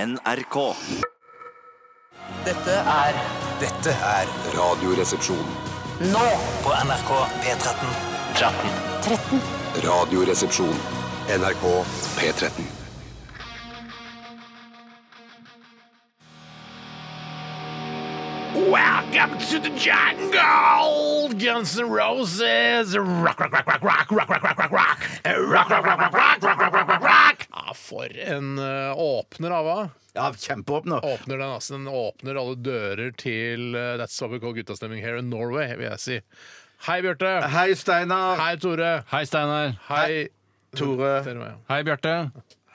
NRK. Dette er Dette er Radioresepsjon. nå på NRK P13. Radioresepsjon. NRK P13. Welcome to the jungle, Guns N' Roses. Rock, rock, rock, rock, rock, rock, rock, rock, rock, rock, Eh, rock, rock, rock, rock, rock, rock, rock, rock, rock, rock. Ja, for en eh, åpner, Ava. Ja, kjempeåpner. Åpner den, altså. Den åpner alle dører til eh, That's what we call guttastemning here in Norway, vil jeg si. Hei, Bjarte. Hei, Steinar. Hei, Tore. Hei, Steinar. Hei, Tore. Tore. meg, ja. Hei, Bjarte.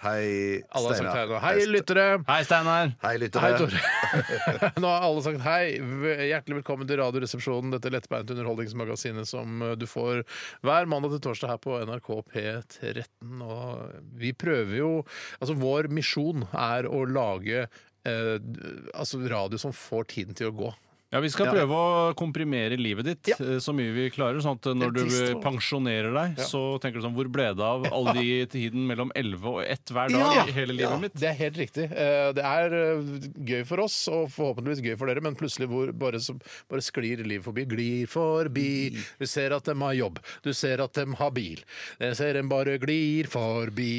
Hei, Alle har sagt hei Steinar. nå. Hei, lyttere. Hei, Steinar. Hei, lyttere. Hei, Tore. Nå har alle sagt hei. V- Hjertelig velkommen til Radioresepsjonen, dette lettbeinte underholdningsmagasinet som eh, du får hver mandag til torsdag her på NRK P13. Og vi prøver jo Altså, vår misjon er å lage eh, d- altså radio som får tiden til å gå. Ja, Vi skal prøve å komprimere livet ditt eh, så mye vi klarer. Sånn at når du pensjonerer deg, så tenker du sånn Hvor ble det av alle de tiden mellom 11 og 1 hver dag i hele livet mitt? Det er helt riktig. Eh, Det er eh, gøy for oss, og forhåpentligvis gøy for dere, men plutselig hvor bare, så, bare sklir livet forbi. Glir forbi. Du ser at de har jobb. Du ser at de har bil. Jeg ser dem bare glir forbi.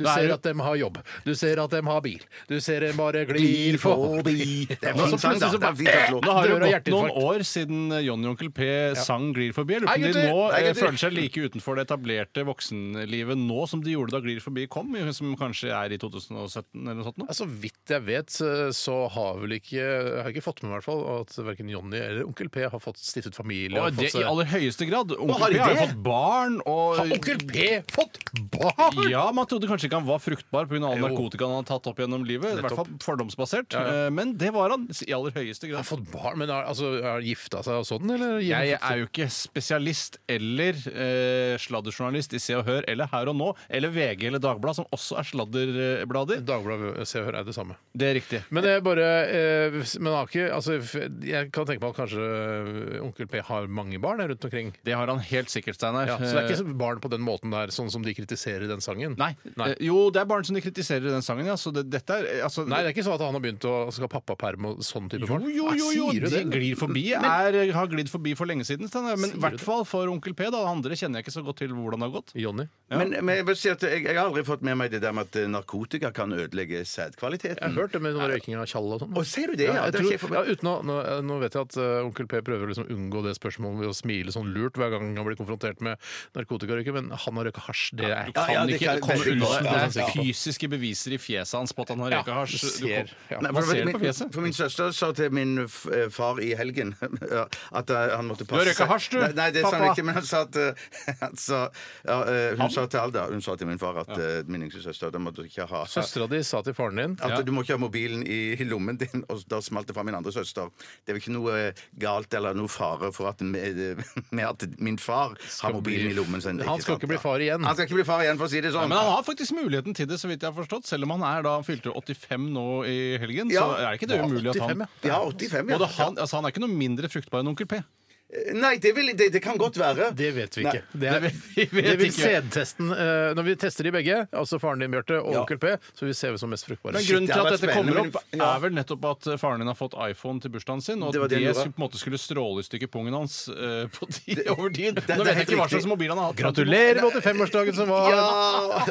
Du Da er ser det- at de har jobb. Du ser at de har bil. Du ser dem bare glir forbi. Det er Og så fin plutselig så sang, da. Det er bare- fint at låten- Nå har det Dør og jo gått noen hjerteinfarkt. år siden Johnny og Onkel P sang 'Glir forbi'. Jeg lurer på Hei, om de gutter! nå Hei, eh, gutter! føler seg like utenfor det etablerte voksenlivet nå som de gjorde da 'Glir forbi' kom, som kanskje er i 2017 eller noe sånt. nå. Ja, Så vidt jeg vet, så har vel ikke Jeg har ikke fått med meg i hvert fall at verken Jonny eller Onkel P har fått stiftet familie. Og og det fått i seg- aller høyeste grad. har Onkel P de har jo det? fått barn og Har Onkel P fått barn?! Ja, man trodde kanskje ikke han var fruktbar pga. Jo. all narkotikaen han har tatt opp gjennom livet. I hvert fall fordomsbasert. Eh, Men det var han i aller høyeste Har grad. fått barn, men har, altså, har han gifta seg og sånn, eller? Jeg er jo ikke spesialist eller eh, sladderjournalist i Se og Hør eller Her og Nå eller VG eller Dagbladet, som også er sladderblader. Dagbladet Se og Hør er det samme. Det er riktig. Men det er bare eh, Men han har ikke altså, f- Jeg kan tenke meg at kanskje eh, onkel P har mange barn der rundt omkring. Det har han helt sikkert, Steinar. Ja, så det er Eh, ikke så barn på den måten der, sånn som de kritiserer i den sangen? Nei. Nei. Eh, Jo, det er barn som de kritiserer i den sangen, ja. Så det, dette er eh, altså, Nei, det er ikke sånn at han har begynt å skal ha pappaperm og sånn type Jo, barn? jo, jo, jo. Sier du de det? glir forbi. Er, har glidd forbi for lenge siden. Steinar. Men Sier i du hvert det? fall for onkel P. Da. Det Andre kjenner jeg ikke så godt til hvordan det har gått. Jonny? Men, men jeg, vil si at jeg, jeg har aldri fått med meg det der med at eh, narkotika kan ødelegge Jeg har Mm. sædkvaliteten. hørt det med noe røyking av tjall og sånn. Å, ser du det? Ja, jeg det har ikke tror, jeg fått med- ja, uten å, nå, nå vet jeg at eh, onkel P prøver å liksom unngå det spørsmålet ved å smile sånn lurt hver gang han blir konfrontert med narkotikarøyking, men han har røyka hasj. Det er Du kan ja, det ikke kan- komme det- unna det- det. det- Det er fysiske beviser i fjeset hans på at han har røyka hasj. du Du kom- ser, ja. Nei, Man for- ser det på min- fjeset. For min søster sa til min f- eh, far i helgen ja, at eh, han måtte passe røyka seg- hasj, du, Nei, nei, det sa han pappa. ikke, men han sa at eh, han sa- ja, eh, Hun sa til Alda, hun sa til min far at eh, min yngste søster at han måtte ikke ha Søstera di sa til faren din At Ja. du må ikke ha mobilen i lommen din. Og da smalt det fra min andre søster. Det er vel ikke noe eh, galt eller noe fare for at med, med at min far har mobilen bli- i lommen sin. Han skal ikke bli far igjen. Han skal ikke bli far igjen, for å si det Ja, sånn. Mm. men han har faktisk muligheten til det, så vidt jeg har forstått. Selv om han er da han fylte 85 nå i helgen, Ja. så er ikke det umulig at han 85, ja. ja, 85, ja. Eh, Både han, altså han er ikke noe mindre fruktbar enn onkel P. Nei, det, vil, det, det kan godt være. Det vet vi Nei. ikke. Det, er, Det vet vi- vi det vet vil ikke. sædtesten eh, Når vi tester de begge, altså faren din, Bjarte, og Ja. onkel P, så vil vi se hvem som er mest fruktbare. Men grunnen det til har at vært dette kommer spennende, opp, men- ja. er vel nettopp at eh, faren din har fått iPhone til bursdagen sin, og Det var at det det, han gjorde. skulle, på en måte skulle stråle i stykker pungen hans eh, på tid, over tid. det Nå er vet jeg helt ikke hva riktig. slags mobil han har hatt. Gratulerer med 85-årsdagen som var! Ja,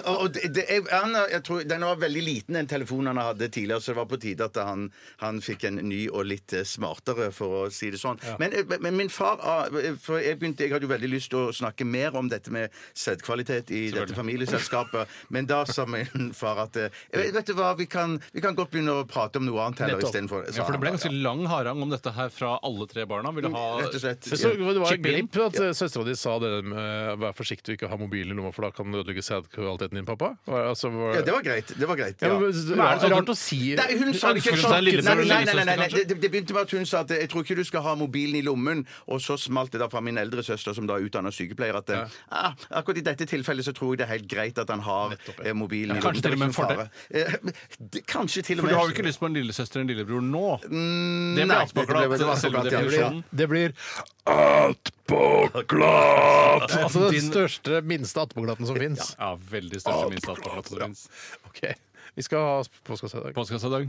og- og det, det, jeg, han, jeg tror, Den var veldig liten, den telefonen han hadde tidligere, så det var på tide at han, han fikk en ny og litt eh, smartere, for å si det sånn. Men, eh, men min far ah, for jeg, begynte, jeg hadde jo veldig lyst til å snakke mer om dette med sædkvalitet i dette familieselskapet, men da sa min far at eh, jeg, Vet du hva, vi kan, vi kan godt begynne å prate om noe annet heller Nettopp. istedenfor Ja, for det ble en ganske lang harang om dette her fra alle tre barna. Ville ha Mm, Rett og slett. Men så, det var Chip in. glipp at ja. søstera di sa det med eh, 'vær forsiktig og ikke ha mobilen i lomma, for da kan du ødelegge sædkvaliteten din, pappa'? Var- Altså, var, Ja, det var greit. Det var greit Ja, ja. men, altså, Men er det sånn- rart å si Nei, hun sa det Ønsker ikke hun sånn. seg en Nei, lillesøster nei, nei, nei, nei, eller Det, det begynte med at hun sa at jeg tror ikke du skal ha mobilen i lommen, og så smalt det da fra min eldre søster, som da er utdannet sykepleier, at ah, akkurat i dette tilfellet så tror jeg det er helt greit at han har Nettopp, ja. eh, mobilen Ja, i lommen. kanskje til og med en fordel. fordel. Kanskje til og For med du har jo ikke lyst på en lillesøster og en lillebror nå? Det ble Mm, nei, avspakla det ble- det ble selve avspaklet, ja. definisjonen. Det blir attpåklatt! Altså den største, minste attpåklatten som fins. Ja, veldig største minst avspakla som fins. Ok. Vi skal ha postkasse i dag. Påskassedag.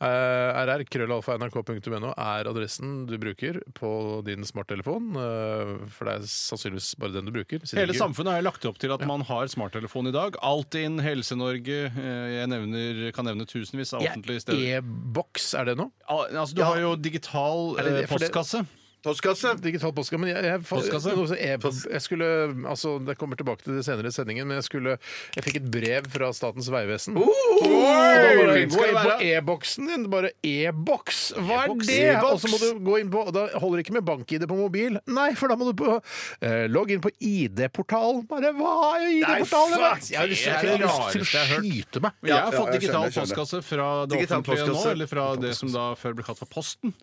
Eh, rr.krøllalfa.nrk.no er adressen du bruker på din smarttelefon. eh, For det er sannsynligvis bare den du bruker. siden Hele ikke- samfunnet har jo lagt opp til at man har smarttelefon i dag. Altinn, Helse-Norge eh, Jeg nevner, kan nevne tusenvis av Ja, e- offentlige steder. E-boks, er det noe? Al- Altså, du har jo digital Er det eh, det- for det- postkasse. Postkasse. Digital postkasse. Men jeg, jeg, Postkasse? noe som e jeg skulle altså, Jeg kommer tilbake til det senere i sendingen, men jeg skulle Jeg fikk et brev fra Statens vegvesen. Og da må du Flink gå Oh! inn skal på du være. e-boksen din. Bare e-boks! Hva er E-boks, det? e-boks. Og så må du gå inn på og Da holder det ikke med bank-ID på mobil. Nei, for da må du på eh, logg inn på ID-portalen. Bare hva er ID-portalen? fuck, Jeg har lyst til- jeg har det er det lyst til å rareste jeg har hørt. skyte meg. Jeg har ja, fått jeg digital skjønner, jeg skjønner. postkasse fra det Digital offentlige nå, postkasse. eller fra det som da før ble kalt for Posten.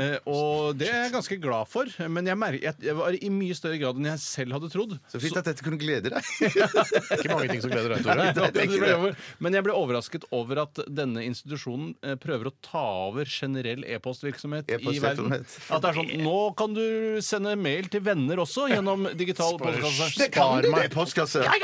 Eh, og det er jeg ganske glad for, men jeg, merker, jeg, jeg var i mye større grad enn jeg selv hadde trodd. Så fint at dette kunne glede deg. Det er ikke mange ting som gleder deg, Tore. Nei, det- tenker det ble det. over. Men jeg ble overrasket over at denne institusjonen eh, prøver å ta over generell e-postvirksomhet i verden. E-postvirksomhet. At det er sånn Nå kan du sende mail til venner også gjennom digital postkasse. Det kan Spar du, meg. det! Postkasse. Spar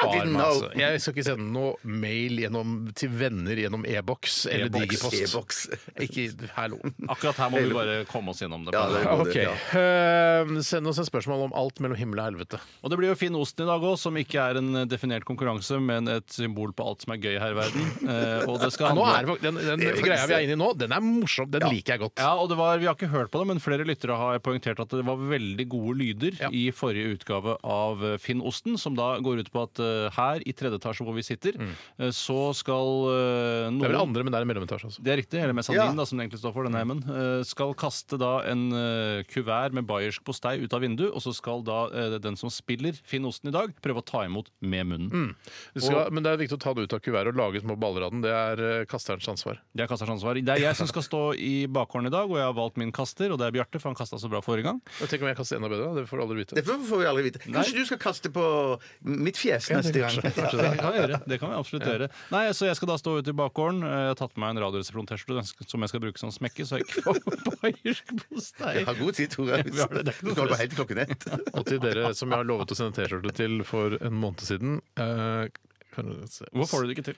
Ah, didn't meg, know. altså. Jeg skal ikke sende noe mail gjennom, til venner gjennom e-boks eller E-boks. digipost. E-boks. Ikke hallo. Akkurat her må vi bare komme oss gjennom det. Ja, det er god, Ok. det, ja. eh, send oss en spørsmål om alt mellom himmel og helvete. Og det blir jo Finn Osten i dag òg, som ikke er en definert konkurranse, men et symbol på alt som er gøy her i verden. Eh, og det skal Ja, nå handle- er det, fakt- den den Det er faktisk greia vi er det. inne i nå, den er morsom. Den liker jeg godt. Ja, og det var, Vi har ikke hørt på det, men flere lyttere har poengtert at det var veldig gode lyder Ja. i forrige utgave av eh, Finn Osten, som da går ut på at eh, her i tredje etasje hvor vi sitter, eh, så skal eh, Mm. Det er vel noen andre, men det er en mellometasje. Altså. det er riktig, eller mesanin, Ja. da, som det egentlig står for. denne heimen, eh, skal kaste da en eh, kuvert med bayersk postei ut av vinduet, og så skal da eh, den som spiller Finn Osten i dag, prøve å ta imot med munnen. Mm. Det Skal, men det er viktig å ta det ut av kuvertet og lage små baller av den. Det er eh, kasterens ansvar. Det er kasterens ansvar. Det er jeg som skal stå i bakgården i dag, og jeg har valgt min kaster, og det er Bjarte, for han kasta så bra forrige gang. Jeg tenker om jeg kaster enda bedre, det får du aldri vite. Det får vi aldri vite. Kanskje du skal kaste på mitt fjes neste gang. det kan vi gjøre. Det kan vi absolutt gjøre. Nei, så jeg skal da stå ute i bakgården. Eh, Jeg har tatt med meg en radioresepsjon-T-skjorte den- som jeg skal bruke som smekke, så jeg ikke får bayersk postei. Ha god tid, Tore. vi har det. Det er ikke Du noe skal stress. holde på helt til klokken ett. Og til dere som jeg har lovet å sende T-skjorte til for en måned siden eh, kan du se- Hvorfor får du det ikke til?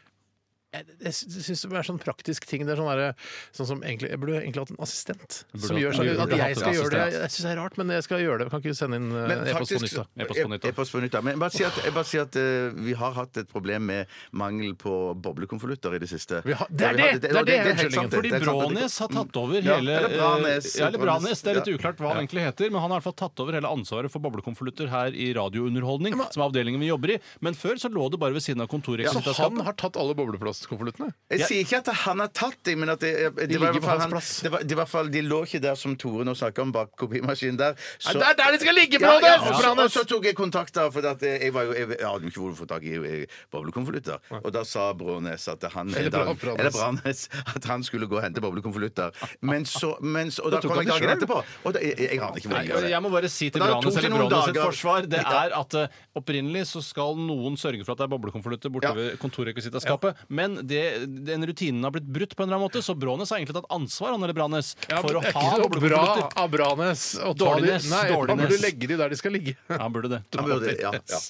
Jeg, jeg sy- syns det er sånn praktisk ting. Det er sånn, derre- sånn som egentlig, Jeg burde egentlig hatt en assistent. Burde Som hatt- gjør sånn, burde at hatt jeg en skal gjøre det. assistent. Jeg, jeg syns det er rart, men jeg skal gjøre det. Kan ikke du sende inn eh, Men e-post på nytt, faktisk- da? E-post på nytt, da. E-post på nytt, da. Men bare si at, jeg bare sier at eh, vi har hatt et problem med mangel på boblekonvolutter i det siste. Vi har- det er Ja, vi har- det! og Det er det, helt sant, Fordi det er sant, Brånes har tatt over Ja, hele eller Branes. eh, Ja, eller Branes. Det er litt Ja. uklart hva han egentlig heter, men han har i hvert fall tatt over hele ansvaret for boblekonvolutter her i Radiounderholdning, som er avdelingen vi jobber i. Men før så lå det bare ved siden av Så han kontorrepresentantskapet. har tatt alle bobleplastkonvoluttene? Jeg sier ikke at han har tatt dem, men at det, det, var i ligger på hvert fall hans han, plass. det var, det var i hvert fall, de lå ikke der som Tore nå snakker om, bak kopimaskinen der. Så- Det er der de skal ligge, ja, ja, Brånes! og, så, og så tok jeg kontakt, da, for at eh, jeg, var jo, jeg, jeg hadde jo ikke hvor du får tak i eh, boblekonvolutter. Og da sa Brånes at han Eller da- Bra- Branes. eller Branes at han skulle gå og hente boblekonvolutter. Men så, mens, og da tok kom han de jeg dagen selv? etterpå. Og da, jeg, jeg, jeg aner ikke hvor Nei, altså, jeg gjør det. jeg må bare si til Og da tok Branes det eller noen Branes sitt dager. forsvar Det er at eh, opprinnelig så skal noen sørge for at det er boblekonvolutter borte Ja. ved kontorrekvisittaskapet, men det, den rutinen har blitt brutt på en eller annen måte, så Brånes har egentlig tatt ansvar, han eller Branes, for å det er ha ikke noe bra boblekonvolutter. av Branes å ta de. Dårlignes, Nei, man dårlignes. burde legge de der de skal ligge. Ja, han burde det. Han burde- ja, ja.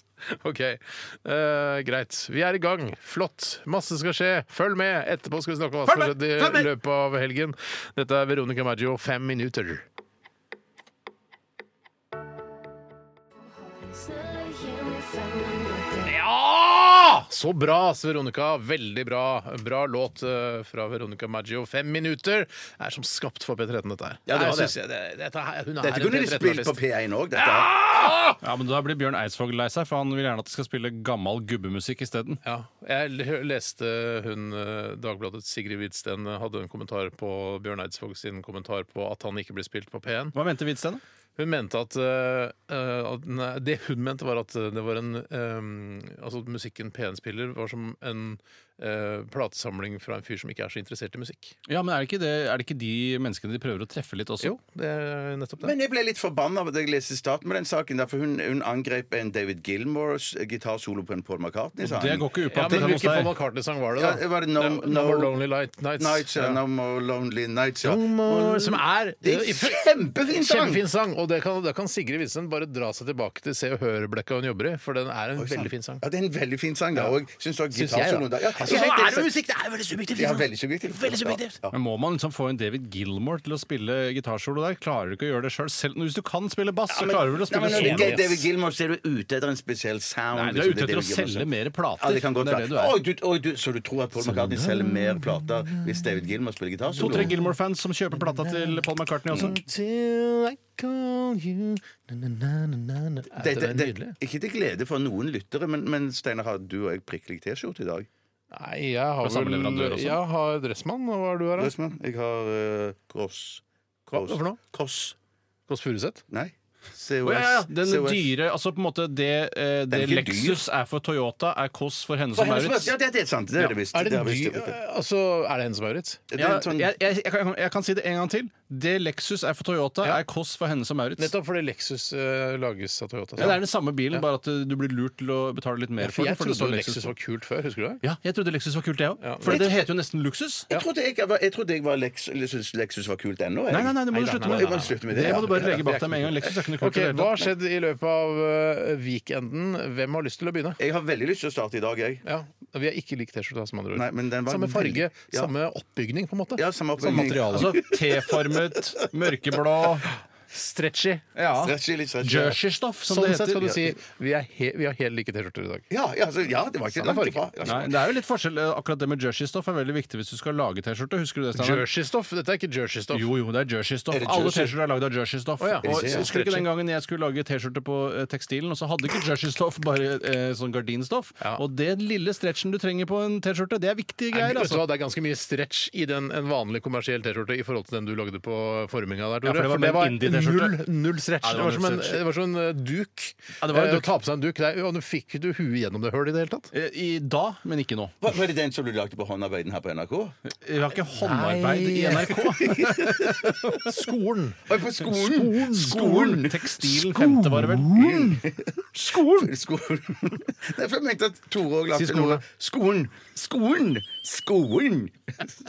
OK. Eh, greit. Vi er i gang. Flott. Masse skal skje. Følg med! Etterpå skal vi snakke om hva som har skjedd Følg med! Følg i med! løpet av helgen. Dette er Veronica Maggio, fem minutter. Ja! Så bra, Veronica. Veldig bra. Bra låt eh, fra Veronica Maggio. Fem minutter Det er som skapt for P13, dette her. Ja, det var Jeg det. synes jeg det- dette her- hun er Dette en kunne de spilt på P13-artist. P1 òg, dette her. Ja, men Da blir Bjørn Eidsvåg lei seg, for han vil gjerne at de skal spille gammal gubbemusikk isteden. Ja, jeg l- leste hun eh, Dagbladets Sigrid Hvitsten eh, hadde en kommentar på Bjørn Eidsvåg sin kommentar på at han ikke ble spilt på P1. Hva mente Hvitsten? Hun mente at, eh, eh, at nei, Det hun mente, var at eh, det var en eh, Altså at musikken P1 spiller, var som en eh, platesamling fra en fyr som ikke er så interessert i musikk. Ja, men er det, ikke det, er det ikke de menneskene de prøver å treffe litt også? Jo, det er nettopp det. Men jeg ble litt forbanna da jeg leste starten på den saken. Der, for hun, hun angrep en David Gilmores gitarsolo på en Paul McCartney-sang. Det går ikke ja, upåaktet men hjemme hos Hvilken Paul deg. McCartney-sang var det, da? Ja, var det No- Det var No- More Lonely Light Nights. Nights, ja. Ja. No more lonely nights, ja. No more- Som er Det er en kjempefin sang! Kjempefin sang, og det kan, det kan Sigrid Wissen bare dra seg tilbake til Se og Hør-blekka hun jobber i, for den er en veldig fin sang. Ja, det er en veldig fin sang, da. Og jeg syns Syns også jeg, da. gitarsoloen da. Ja, sånn Altså, så helt er det enig. med musikk. Det er veldig subjektivt. Ja, liksom. veldig subjektivt. Veldig subjektivt. Ja, ja. Men Må man liksom få en David Gilmore til å spille gitarsolo der? Klarer du ikke å gjøre det sjøl? Selv hvis du kan spille bass, så klarer du vel å Nei, spille men når det solo? er David Gilmour, så er du ute etter en spesiell sound. Nei, du er ute liksom, etter å David Gilmour. selge mer plater. Ja, det kan godt Det er være. det du er. Oi, du, oi, du, så du tror at Paul McCartney selger mer plater hvis David Gilmour spiller gitar? solo? To-tre Gilmore-fans som kjøper plata Mm. til Paul McCartney også. Till I call you na-na-na-na-na. Er Det- ikke det det- det- nydelig? Ikke til glede for noen lyttere, men, men Steinar, har du og jeg prikk lik T-skjorte i dag? Nei, jeg har Fra samme leverandør vel også? Jeg har Dressmann, og hva er du her, da? Røsmann, Jeg har eh, Cross. Cross. Hva for noe? Cross. Kåss Furuseth? Nei. COS. Å, ja, ja. Den COS. dyre Altså på en måte det, eh, det ikke dyr. Lexus er for Toyota, er Kåss for henne For som henne som Maurits. er- Ja, det er helt sant. Det er det visst. Er det har en visst- dyr Altså, er det henne som er Maurits? Det Ja, er en sånn jeg, jeg, jeg, kan, jeg kan si det en gang til. Det Lexus er for Toyota, er Kåss for henne som Maurits. Nettopp fordi Lexus eh, lages av Toyota. Ja, det er den samme bilen, bare at eh, du blir lurt til å betale litt mer For for den. jeg fordi trodde det står jo Lexus var kult før, husker du det? Ja, jeg trodde Lexus var kult, jeg òg. Ja, For det heter jo nesten luksus. Jeg trodde jeg, var- jeg, trodde jeg var Lex, syntes Lexus var kult ennå. jeg. Nei, nei, nei, det må du Nei, nei, nei, slutte med. nei, nei. Jeg må slutte med det, det må ja. du bare legge Det bak er deg med en gang. ikke Lexus er ikke noe kult. Ok, i Hva det hele tatt. har skjedd i løpet av eh, weekenden? Hvem har lyst til å begynne? Jeg har veldig lyst til å starte i dag, jeg. Ja, Vi har ikke lik T-skjorta, som andre ord. Nei, men den var samme farge, veldig- ja. samme oppbygning, på en måte. Ja, samme Samme oppbygning. materiale. Altså T-formet, mørkeblå Stretchy. ja. Stretchy, litt stretchy. Jerseystoff, som Sånn det sett heter. skal du si vi, er he vi har helt like T-skjorter i dag. Ja, ja, altså, ja, det var ikke Samme langt farge. ifra. Ja. Nei, det er jo litt forskjell. Eh, Akkurat det med jerseystoff er veldig viktig hvis du skal lage T-skjorte. Husker du Sånn. det, Steinar? Jerseystoff? Dette er ikke jerseystoff. Jo, jo, det er jerseystoff. Er det Alle jersey? T-skjorter er lagd av jerseystoff. Å, ja. Og Ja. Husker du ikke den gangen jeg skulle lage T-skjorte på eh, tekstilen, og så hadde ikke jerseystoff, bare eh, sånn gardinstoff? Ja. Og den lille stretchen du trenger på en T-skjorte, det er viktige Nei, greier, vet du altså. hva, Det er ganske mye stretch i den, en vanlig kommersiell T-skjorte i forhold til den du lagde på forminga der, Tore. Ja, for det var med en indie-T-skjorte. null, null stretch. Ja, det, var som en, det var som en eh, duk. Ja, det var en Eh, duk. Å ta på seg en duk. Det er, og du fikk du huet gjennom det hullet i det hele tatt? Eh, I da, men ikke nå. Var var det den som du lagde på håndarbeiden her på NRK? Vi har ikke håndarbeid i Nei. NRK. Skolen! Oi, på skolen! Skolen! Tekstilen femte, var det vel? Skolen! Skolen! Nei, for jeg mente at Tore òg lagde Si noe Skolen! Skolen! Skolen!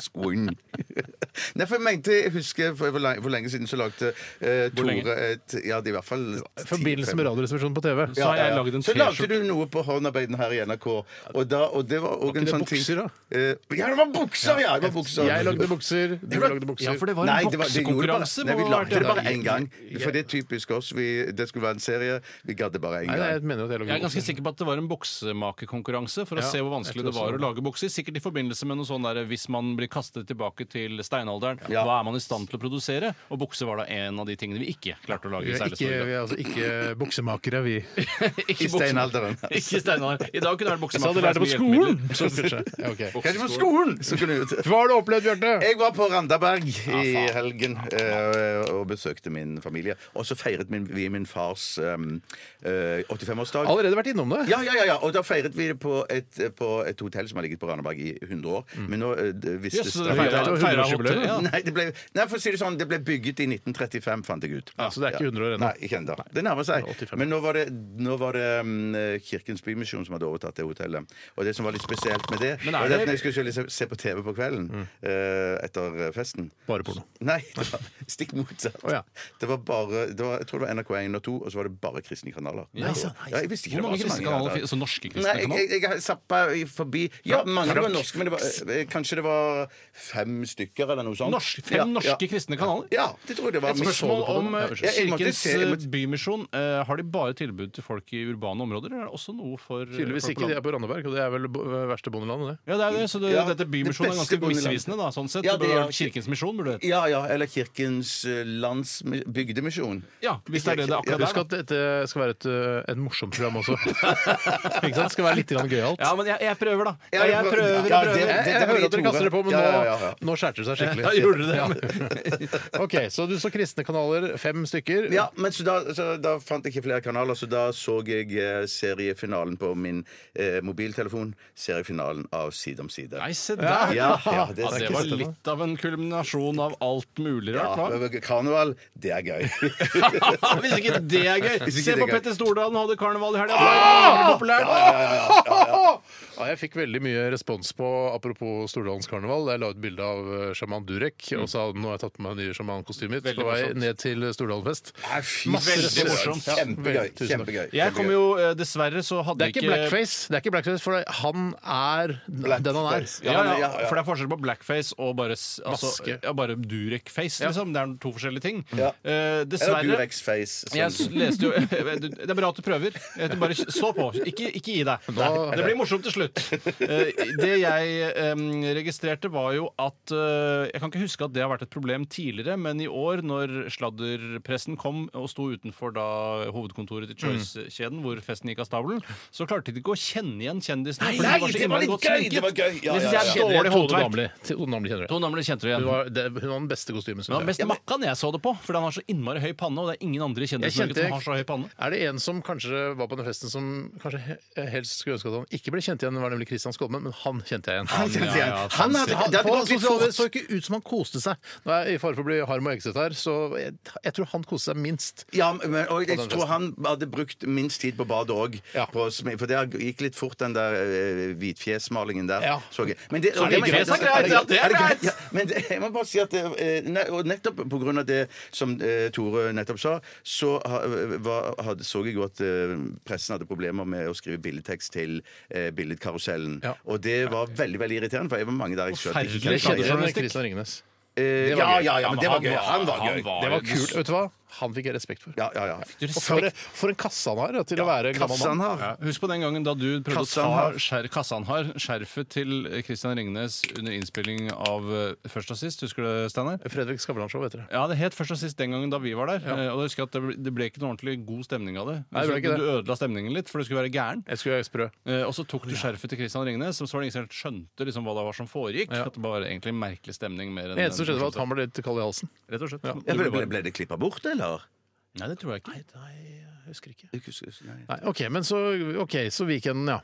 Skolen! Nei, for jeg mente Jeg husker for, for, lenge, for lenge siden så lagde eh, lenge? Tore et Ja, det er i hvert fall I forbindelse med Radioresepsjonen på TV. Så har jeg lagd en Så lagde T-skjorte. du noe på håndarbeiden her i NRK, og, da, og det var òg en det sånn ting bukser, da? Eh, Ja, det var bukser! Ja, det var bukser. Jeg lagde bukser, du var- lagde bukser. Ja, for det var Nei, en det var- det gjorde boksekonkurranse. bare- må Nei, vi det ha vært. lagde det bare Ja, én gang. jeg- For det er typisk oss. Vi, det skulle være en serie. Vi gadd det bare én Nei, nei, gang. jeg mener at jeg lagde Jeg er ganske bukser. sikker på at det var en buksemakerkonkurranse for å Ja, se hvor vanskelig jeg tror det var også å lage bukser. Sikkert i forbindelse med noe sånn der hvis man blir kastet tilbake til steinalderen, Ja. hva er man i stand til å produsere? Og bukser var da en av de tingene vi ikke klarte å lage Vi i er, særlig ikke, stor vi grad. er altså ikke buksemakere, vi. Ikke I bukser- steinalderen. Ikke i steinalderen. I dag kunne det vært Så buksemaker. hadde for lært det det på er så mye skolen! hjelpemidler. Så kanskje. Ja, ok. Kanskje på skolen! Så kunne vi Hva har du opplevd, Bjarte? jeg var på Randaberg i helgen eh, og besøkte min familie. Og så feiret min, vi min fars eh, eh, 85-årsdag. Allerede vært innom det? Ja, ja, ja, ja, og da feiret vi det på et, på et hotell som har ligget på Randaberg i 100 år. Men nå eh, det visste Jøss, det Stavanger- feiret- feira- feira hotellet, ja. Nei, det ble, nei, for å si det sånn, det ble bygget i 1935, fant jeg ut. Ja, så det er ikke 100 år ennå. Nei, ikke ennå. Det nærmer seg. Det er 85. Men nå var det, nå var det mm, Kirkens Bymisjon som hadde overtatt det hotellet. Og det som var litt spesielt med det, Men er var det at det- når jeg skulle se- se på TV på kvelden eh, etter festen Bare porno. Nei, det var stikk motsatt. Å, ja. Det var bare det var, Jeg tror det var NRK1 og 2, og så var det bare kristne kanaler. Nei, sant, ja, jeg visste ikke Hvor det var mange så kristne kanaler der. finnes- så norske kristne Nei, jeg, kanaler? jeg, jeg zappa i- forbi Ja, mange var norske, men det var, eh, kanskje det var fem stykker eller noe sånt. Norsk, fem Ja, ja. norske kristne kanaler? Ja, det tror jeg det var. Et spørsmål Misforhold. om eh, Ja, jeg måtte Kirkens se- jeg måtte- eh, Bymisjon. Eh, Har de bare tilbud til folk i urbane områder, eller er det også noe for eh, Tydeligvis folk på ikke. landet? De er på Randaberg, og det er vel bo- verste bondelandet, det. Ja, det er det. Så det, Ja, dette bymisjonen det er beste ganske bondelandet. misvisende, da, sånn sett. Ja, det det burde er- vært Kirkens misjon, burde det hete. Ja, ja, eller Kirkens eh, lands bygdemisjon. Ja, hvis det er det det er akkurat Husk der. da. at dette skal være et, ø, et morsomt program også. ikke sant? Det skal være litt grann gøyalt. Ja, men jeg, jeg prøver, da. Ja, Ja, jeg prøv- prøver, ja, jeg prøver. det- Jeg, jeg hører at dere kaster det på, men Ja, ja, ja, ja. nå, nå skjærte det seg skikkelig. Ja, gjorde det det? Ok, Så du så kristne kanaler, fem stykker. Ja, men så da, så da fant jeg ikke flere kanaler, så da så jeg eh, seriefinalen på min eh, mobiltelefon. Seriefinalen av Side om side. Nei, se der! Ja, ja, Ja, det, det var litt av en kulminasjon av alt mulig ja, rart, hva? men Karneval, det er gøy. Hvis ikke det er gøy! Hvis Se ikke det er på gøy. Ah! Petter Stordalen, hadde karneval i helga. Det var veldig populært. Ja, jeg fikk veldig mye respons på apropos eh, Stordalens karneval. Jeg la ut bilde av ø, sjaman Durek og sa nå har jeg tatt på meg det nye sjamankostymet mitt. Veldig På vei morsomt. ned til Stordalfest. Veldig morsomt. Kjempegøy. Tusen takk. kjempegøy. Jeg kom jo eh, Dessverre så hadde Det er ikke blackface, det er ikke blackface for han er den han er. Blackface. Ja, ja, Ja, ja, ja. for det er forskjell på blackface og bare, s- altså, Maske. ja, bare Durek-face. Liksom. Det er to forskjellige ting. Ja. Eh, Eller dessverre Durex-face. sånn. som- jeg s- leste jo Det er bra at du prøver. Du Bare stå på. Ikke, ikke gi deg. Det blir morsomt til slutt. Eh, Det jeg em, registrerte, var jo at eh, Jeg kan ikke huske at det har vært et problem tidligere, men i år, når sladderpressen kom og sto utenfor da Mm. hovedkontoret til Choice-kjeden, hvor festen gikk av stabelen, så klarte de ikke å kjenne igjen kjendisene. fordi de nei, så det var innmari litt godt gøy, sminket. det var gøy. Ja, Det ja, synes ja. jeg er dårlig Tone håndverk. Damli. Tone Damli kjenner du. To namler kjente du Hun igjen. var, det, hun var den beste kostymen som Men han jeg. beste makkan jeg så det på, fordi han har så innmari høy panne. Og det er ingen andre i Jeg Kjendis-Norge kjente, som har så høy panne. er det en som kanskje var på den festen som kanskje he- helst skulle ønske at han ikke ble kjent igjen, var nemlig Christian Skolmen, men han kjente jeg igjen. Han kjente ja, igjen. ja, Han hadde, Han, det hadde på gått litt sosiale medier fort. så ikke ut som han koste seg. Nå er jeg i fare for å bli harm og eggsete her, så jeg, jeg tror han koste seg minst. Ja, men, og jeg den tror han hadde brukt minst tid på badet òg. Ja. For det gikk litt fort, den der eh, hvitfjesmalingen der. Ja. Så jeg. Men det, Så og det- hvitfjes er greit, ja, det er greit. Ja, men det, jeg må bare si at eh, nei, og nettopp på grunn av det som eh, Tore nettopp sa, så ha- var, hadde, så jeg jo at eh, pressen hadde problemer med å skrive billedtekst til eh, billedkarusellen. Ja. Og det var veldig veldig irriterende, for jeg var mange der jeg selv ikke Forferdelig Jeg kunne ta kjenner det. igjen journalistikk. Christian Ringnes. Eh, Det var Ja, gøy. ja, ja, Ja, men men det var han gøy. var- Han var han gøy. var- Det var kult. Vet du hva? Han fikk jeg respekt for. Ja, ja, ja. Og for, for en kasse han har ja, til å være en gammel Kassa han mann. har. Ja, husk på den gangen da du prøvde Kassa å han har. ta skjer, kassa han har, skjerfet til Christian Ringnes under innspilling av eh, Først og sist. Husker du det, Steinar? Fredrik Skavlan-show, heter det. Ja, det het Først og sist den gangen da vi var der. Eh, Og da husker jeg at det ble, det ble ikke noe ordentlig god stemning av det. Nei, det ble Altså, ikke det. Du ødela stemningen litt, for du skulle være gæren. Jeg skulle være sprø. Eh, Og så tok du skjerfet til Christian Ringnes, som så var det ingen som helt skjønte liksom, hva det var som foregikk. Ja. At det var egentlig en merkelig stemning. Mer enn Det eneste som skjedde, var at den- han ble litt kald i halsen. Rett og slett. Ja. Du Ja, ble Ble, ble, bare- ble det klippa bort, eller? Nei, det tror jeg ikke. Nei, jeg husker ikke. Jeg husker ikke, nei. Nei, OK, men så, ok, så weekenden, ja.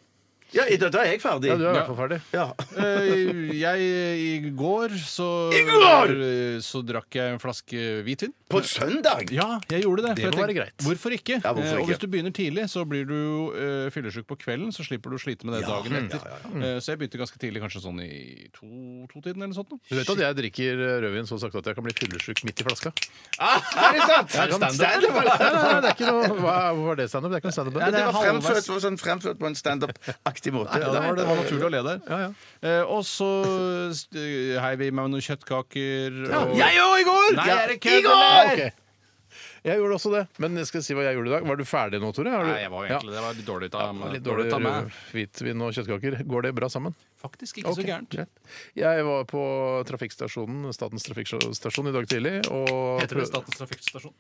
Ja, i- da, da er jeg ferdig. ja. Du er i Ja. hvert fall ferdig. Ja. Eh, jeg I går så eh, Så drakk jeg en flaske hvitvin. På søndag! Ja, jeg gjorde det. for Det jeg må være greit. Hvorfor ikke? hvorfor Eh, Og ikke? hvis du begynner tidlig, så blir du uh, fyllesyk på kvelden, så slipper du å slite med det dagen etter. Eh, så jeg begynte ganske tidlig, kanskje sånn i to- to-tiden eller noe sånt. Du vet at jeg drikker eh, rødvin så sakte at jeg kan bli fyllesyk midt i flaska? Er det sant? Jeg kan- Stand-up, eller? Nei, nei, nei, det er ikke noe Hva hvorfor er det standup? Det er ikke noe standup. Nei, Det det var halvveis. fremført, det var sånn fremført på en standup-aktig måte. Ja, det var, det var naturlig å le der. Ja, ja. Eh, og så eh, heiv vi i meg noen kjøttkaker. og- Jeg òg, i går! Nei, Ja. er det kødd, I går! Ok. Jeg gjorde også det. Men jeg skal si hva jeg gjorde i dag. Var du ferdig nå, Tore? Har du- Nei, jeg var jo egentlig, det var litt dårlig av, Det var Litt dårlig av dårlig meg. hvitvin og kjøttkaker. Går det bra sammen? Faktisk ikke Ok, så gærent. greit. Jeg var på trafikkstasjonen, Statens trafikkstasjon i dag tidlig. Og Heter det Statens trafikkstasjon?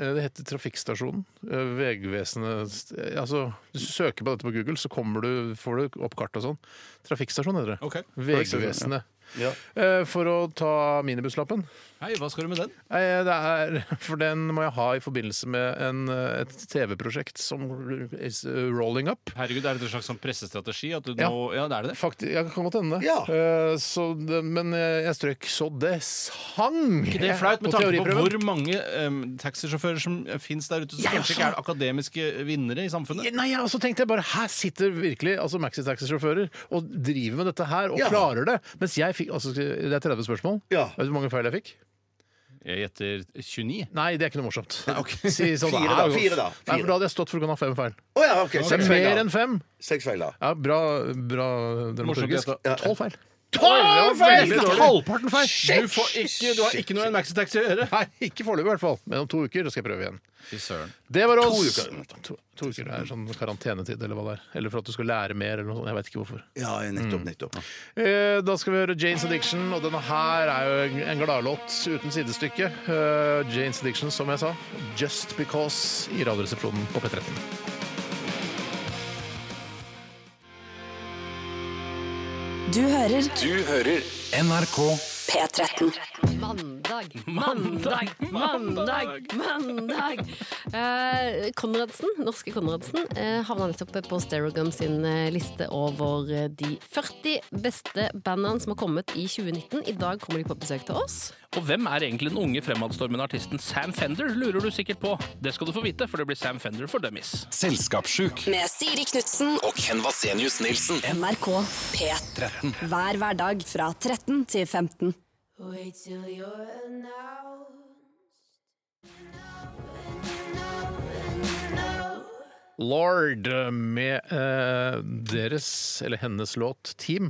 Eh, Det heter Trafikkstasjonen. Eh, Vegvesenet st- eh, Altså, hvis du søker på dette på Google, så kommer du, får du opp kart og sånn. Trafikkstasjon heter det. Ok. Vegvesenet. Ja. Eh, For å ta minibusslappen Hei, hva skal du med den? Nei, det er, For den må jeg ha i forbindelse med en, eh, et TV-prosjekt som is rolling up. Herregud, er det en slags sånn pressestrategi? At du Ja. nå, ja, det er det. Faktisk, jeg kan godt hende det. Ja. Eh, så det- Men eh, jeg strøk så det sang! Ikke det er flaut med tanke på teoriprøven. hvor mange em, taxisjåfører som fins der ute som Jeg kanskje også. ikke er akademiske vinnere i samfunnet? Nei, jeg også tenkte jeg bare Her sitter virkelig altså maxitaxi-sjåfører og driver med dette her og Ja. klarer det. Mens jeg fikk altså, Det er 30 spørsmål. Ja. Vet du hvor mange feil jeg fikk? Jeg gjetter 29. Nei, det er ikke noe morsomt. ok. Si sånn, Fire ja, da, godt. fire da, Nei, fire. for da hadde jeg stått for å kunne ha fem feil. Å ja, OK. Det Seks er mer feil, enn da. fem. Seks feil, da. Ja, bra, bra dramaturgisk. Morsomt, ja. Tolv feil. Tolv feil! Det var veldig dårlig. Halvparten feil! Du, får ikke, du har ikke noe i en maxitaxi å gjøre! Nei, ikke foreløpig i hvert fall. Men om to uker skal jeg prøve igjen. Fy søren. Det var oss. To, to uker det er sånn karantenetid eller hva det er. Eller for at du skal lære mer eller noe sånt. Jeg vet ikke hvorfor. Ja, nettopp, nettopp. Eh, Da skal vi høre Janes Addiction, og denne her er jo en- en gladlåt uten sidestykke. Eh, Janes Addiction, som jeg sa. Just Because i Radioresepsjonen på P13. Du hører Du hører NRK P13. Mandag, mandag, mandag, mandag. Eh, Konradsen, norske Konradsen, uh, havna nettopp på Stereogum sin eh, liste over eh, de 40 beste bandene som har kommet i 2019. I dag kommer de på besøk til oss. Og hvem er egentlig den unge fremadstormende artisten Sam Fender, lurer du sikkert på. Det skal du få vite, for det blir Sam Fender for dummies. Selskapssjuk Med Siri Knutsen og og Ken Vasenius Nilsen. NRK P13. Hver hverdag fra 13 til 15. Lord med eh, deres, eller hennes låt, Team.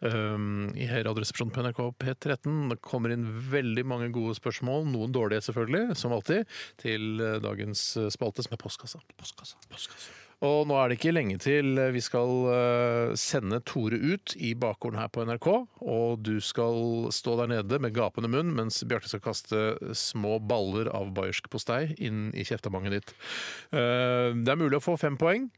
Um, I Radioresepsjonen på NRK P13 Det kommer inn veldig mange gode spørsmål, noen dårlige selvfølgelig, som alltid, til eh, dagens eh, spalte, som er postkassa. Og nå er det ikke lenge til vi skal eh, sende Tore ut i bakgården her på NRK. Og du skal stå der nede med gapende munn mens Bjarte skal kaste eh, små baller av bayersk postei inn i kjeftemanget ditt. Eh, Det er mulig å få fem poeng.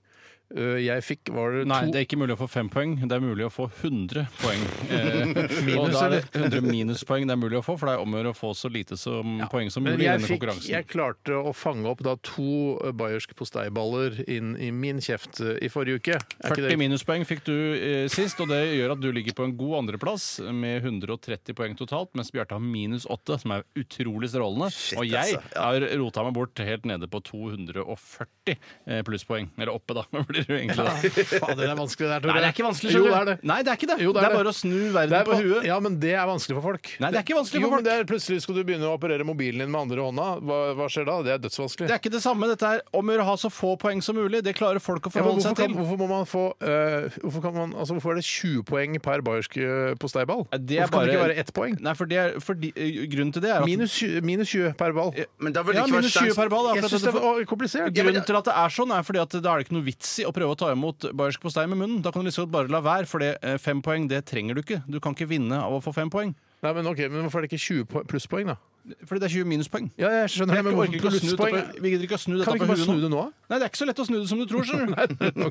Eh, Jeg fikk, var det to Nei, det er ikke mulig å få fem poeng. Det er mulig å få 100 poeng. Eh, og Minus, da er det 100 minuspoeng det er mulig å få, for det er om å gjøre å få så lite som, poeng som Men mulig i jeg, denne fikk, konkurransen. jeg klarte å fange opp da to eh, bayersk posteiballer inn i min kjeft eh, i forrige uke. Er ikke 40 det minuspoeng fikk du eh, sist, og det gjør at du ligger på en god andreplass med 130 poeng totalt, mens Bjarte har minus 8, som er utrolig strålende. og jeg altså, ja. har rota meg bort helt nede på 240 eh, plusspoeng. Eller oppe, da. blir det jo egentlig da. Faen, det er vanskelig det der, Tore. Nei, det er ikke vanskelig. Jo, skjønner det du. er det. Nei, det er ikke det. Jo, det, er bare å snu verden Det er på ba- huet. Ja, men det er vanskelig for folk. Nei, det er ikke vanskelig Jo, for men folk. det er, plutselig skal du begynne å operere mobilen din med andre hånda. Hva, hva skjer da? Det er dødsvanskelig. Det er ikke det samme. Dette er om å gjøre å ha så få poeng som mulig. Det klarer folk å ja, men forholde hvorfor, seg kan, til. hvorfor må man få eh, hvorfor, kan man, altså, hvorfor er det 20 poeng per bayersk eh, posteiball? Ja, det er hvorfor kan det ikke bare- være ett poeng? Nei, for det er, fordi- eh, grunnen til det er at Minus 20, minus 20 per ball. Men da vil det ja, ikke være minus 20 per ball. Jeg akkurat syns det dette- er for- å, komplisert. Ja, men- Grunnen til at det er sånn, er fordi at da er det ikke noe vits i å prøve å ta imot bayersk postei med munnen. Da kan du liksom bare la være, for det, eh, fem poeng det trenger du ikke. Du kan ikke vinne av å få fem poeng. Nei, men, ok, men hvorfor er det ikke 20 po- plusspoeng, da? Fordi det er 20 minuspoeng. Ja, jeg skjønner Jeg men orker ikke å snu dette plusspoeng på- Vi gidder ikke å snu dette Kan vi på ikke bare huet snu det nå. nå? Nei, det er ikke så lett å snu det som du tror, skjønner du.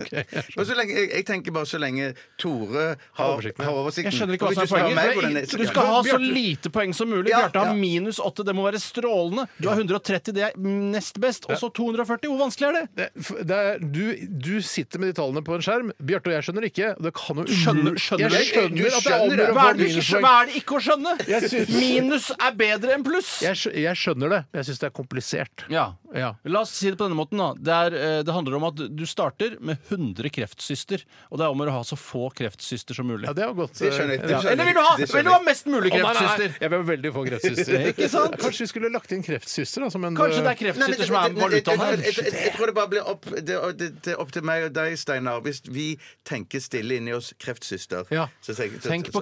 Men så lenge, jeg, jeg tenker bare så lenge Tore har, oversikten, ja. har oversikten. Jeg skjønner ikke hva Og som er hvis du spør meg hvordan poenget. det- Du skal ha så Bjarte, lite poeng som mulig. Ja, Bjarte har ja. minus 8. Det må være strålende. Du har 130, det er nest best. Og så 240. Hvor vanskelig er det? Det, f- det er, du, du sitter med de tallene på en skjerm. Bjarte og jeg skjønner ikke. Det kan jo Skjønner- umulig- skjønner jeg du? skjønner Du at det er skjønner om å det. gjøre å Hva få er det, du ikke, skjø- minuspoeng. hva er det ikke å skjønne? Jeg syns- Minus er bedre enn pluss. Jeg, skj- jeg skjønner det, men jeg syns det er komplisert. Ja. Ja. La oss si det på denne måten. da det, er, eh, det handler om at du starter med 100 kreftsyster. Og det er om å gjøre å ha så få kreftsyster som mulig. Ja, det var godt. eh, Det skjønner jeg. Det Ja. skjønner Eller vil du ha, vil Det du ha skjønner mest mulig Å, nei, nei, nei. kreftsyster? Jeg vil ha veldig få kreftsyster. Ikke sant? Kanskje vi skulle lagt inn kreftsyster? Da, som en, eh, Kanskje det er Nei, men kreftsyster det- som er det- det- valutaen jeg- her? jeg- jeg- Jeg tror det bare blir opp, det, det, det er opp til meg og deg, Steinar. Hvis vi tenker stille inni oss kreftsyster Ja. så tenk, Tenk på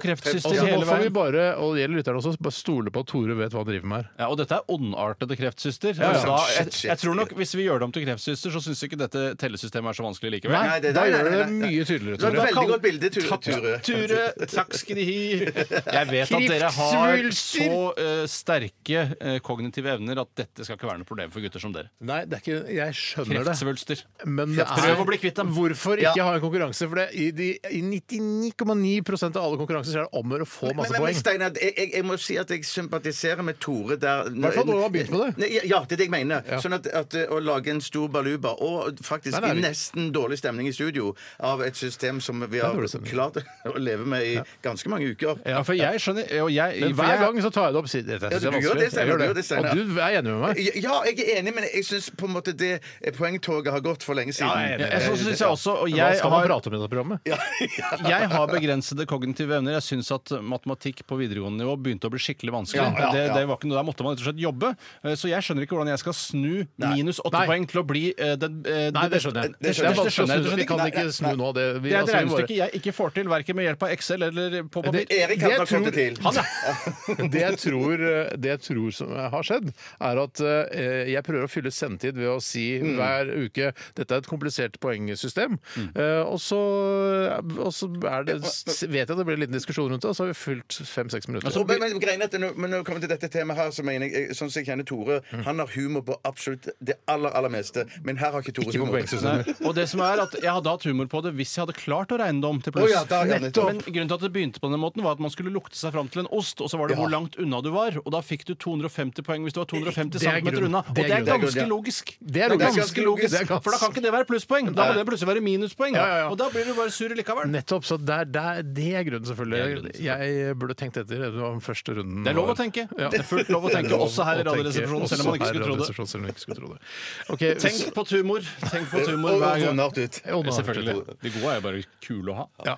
Og kreftsyster så hele må- får vi veien. bare, og det gjelder lytterne også, bare stole på at Tore vet hva han driver med her. Ja, og dette er ondartede kreftsyster. ja. Så Da, jeg, Shit, shit. jeg tror nok Hvis vi gjør det om til kreftsyster, så syns ikke dette tellesystemet er så vanskelig likevel. Nei, det- da nei, nei, gjør du det nei, nei. mye tydeligere, Det var Tore. et veldig godt bilde, Ture. Ture. Ture, takk skal de ha. Jeg vet at dere har Kreftsvulster. så eh, sterke eh, kognitive evner at dette skal ikke være noe problem for gutter som dere. Nei, det er ikke, jeg skjønner det. Kreftsvulster. Men det er, Prøv å bli kvitt dem. hvorfor Ja. ikke ha en konkurranse? For det, i de- i 99,9 av alle konkurranser så er det om å gjøre å få Men, masse men, men poeng. Steinar, jeg, jeg, jeg må si at jeg sympatiserer med Tore der I hvert fall når du har begynt med det. Ja, det er det jeg mener. Sånn at, at eh, å lage en stor baluba, og faktisk Nei, nei, vi- i nesten dårlig stemning i studio, av et system som vi har dårlig stemning. klart å leve med i ganske mange uker Ja, for jeg skjønner og jeg, Men for hver jeg, gang så tar jeg det opp. sier, Dette synes jeg Ja, du er gjør det, vanskelig. Jeg Steinar, du gjør gjør det, det. Steinar. Og du er enig med meg. Ja, jeg er enig, men jeg syns på en måte det poengtoget har gått for lenge siden. jeg er enig. Ja, jeg, så synes jeg også, og Hva jeg skal man har, prate om i dette programmet? jeg har begrensede kognitive evner. Jeg syns at matematikk på videregående nivå begynte å bli skikkelig vanskelig. Ja, ja, Det, ja. det var ikke noe, Der måtte man rett og slett jobbe. Eh, Så jeg skjønner ikke hvordan jeg skal snu minus åtte Nei. poeng til å bli eh, den Nei, det eh, det beste- skjønner jeg. Det skjønner, det skjønner jeg rett og Vi slett kan ikke. ikke snu nå. Det, vi, altså, Det er et vi bare- regnestykke jeg ikke får til, verken med hjelp av Excel eller på papir. Det- Erik Det hadde nok tror- fått det til. Han er- det, jeg tror, eh, det jeg tror som har skjedd, er at eh, jeg prøver å fylle sendetid ved å si Mm. hver uke dette er et komplisert poengsystem. Eh, og så, og så er det, s- vet jeg at det blir en liten diskusjon rundt det, og så har vi fylt fem-seks minutter. Og- men, men, greien er at når, men når det kommer til dette temaet her, så mener jeg, sånn som jeg kjenner Tore, han har humor på absolutt det aller, aller meste, men her har ikke Tore Ikke på humor. poengsystemet. Nei, og det som er at Jeg hadde hatt humor på det hvis jeg hadde klart å regne det om til Å pluss. ja, da, ja, nettopp. Men grunnen til at det begynte på den måten var at man skulle lukte seg fram til en ost, og så var det hvor langt unna du var. Og da fikk du 250 poeng hvis du var 250 Det er cm grunn. unna. Og Det er grunn. det er Det er grunn, ja. ganske logisk. Det er ganske ganske logisk. Det er logisk ganske- For da kan ikke det være plusspoeng. Da må det plutselig være minuspoeng. Ja, ja, ja. Og da blir du bare sur likevel. Nettopp. Så det er, det er- det er grunnen, selvfølgelig. Det er grunnen, Jeg burde tenkt etter. Det var den første runden. Det er lov å var- tenke. Ja. Det er fullt lov å Det tenke, er lov også her å i tenke, Radioresepsjonen, selv om man også ikke her i skulle tro det. Radioresepsjonen, selv om man ikke skulle tro det. Ok, Tenk på tumor. Tenk på Og tumor og hver gang. vondart ut. Ja, og nå har vi Selvfølgelig. De gode er jo bare kule å ha. Ja.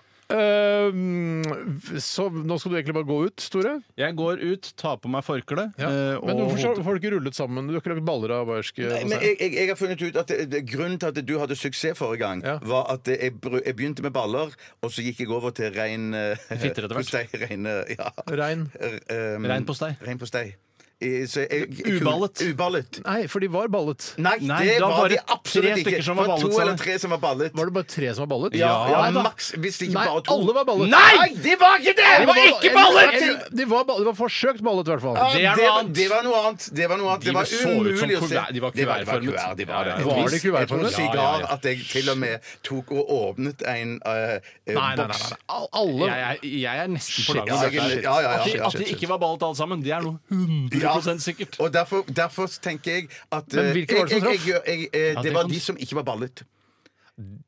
Eh, så nå skal du egentlig bare gå ut, Store. Ehm, Jeg går ut, tar på meg forkle eh, Men og hvorfor så- får du ikke rullet sammen? Du har ikke lagd baller av bayerske Nei, men jeg, jeg, jeg har funnet ut at det, det, Grunnen til at du hadde suksess forrige gang, Ja. var at jeg, bru- jeg begynte med baller, og så gikk jeg over til rein eh, Fitter etter hvert. postei, rein, eh, ja. Rein. R- um, Rein postei. Rein postei. I- så jeg- Uballet. Uballet. Nei, for de var ballet. Nei, Nei, det da var var de det tre absolutt ikke. stykker som var Det ballet, To sa eller du. tre som var ballet. Var det bare tre som var ballet? Ja, ja, Nei da. maks. Hvis det ikke Nei, bare to. alle var ballet. Nei, det var ikke det! Det var ikke ballet! Eller- eller- De var, ballet. de var forsøkt ballet, i hvert fall. Ja, Det er noe var- annet. Det var noe annet. Det var, noe De annet. det var så ut som umulig å se. kuvert- de var Det det kuvertformet. kuvert, de var det. Ja, ja. Var de Jeg tror kuvertformet? sigar Ja, ja, ja. at jeg til og med tok og åpnet en eh, eh, Nei, nei, nei, boks. nei. Al- Alle Jeg, er- jeg er nesten på lag Ja, med jeg- dette. her. ja, ja, ja, At de- ja, At de shit, shit. ikke var ballet alle sammen, det er noe 100 sikkert. Og derfor, derfor tenker jeg at Men eh, hvilke var det som jeg- jeg- jeg- eh, det Det var kan- de som ikke var ballet.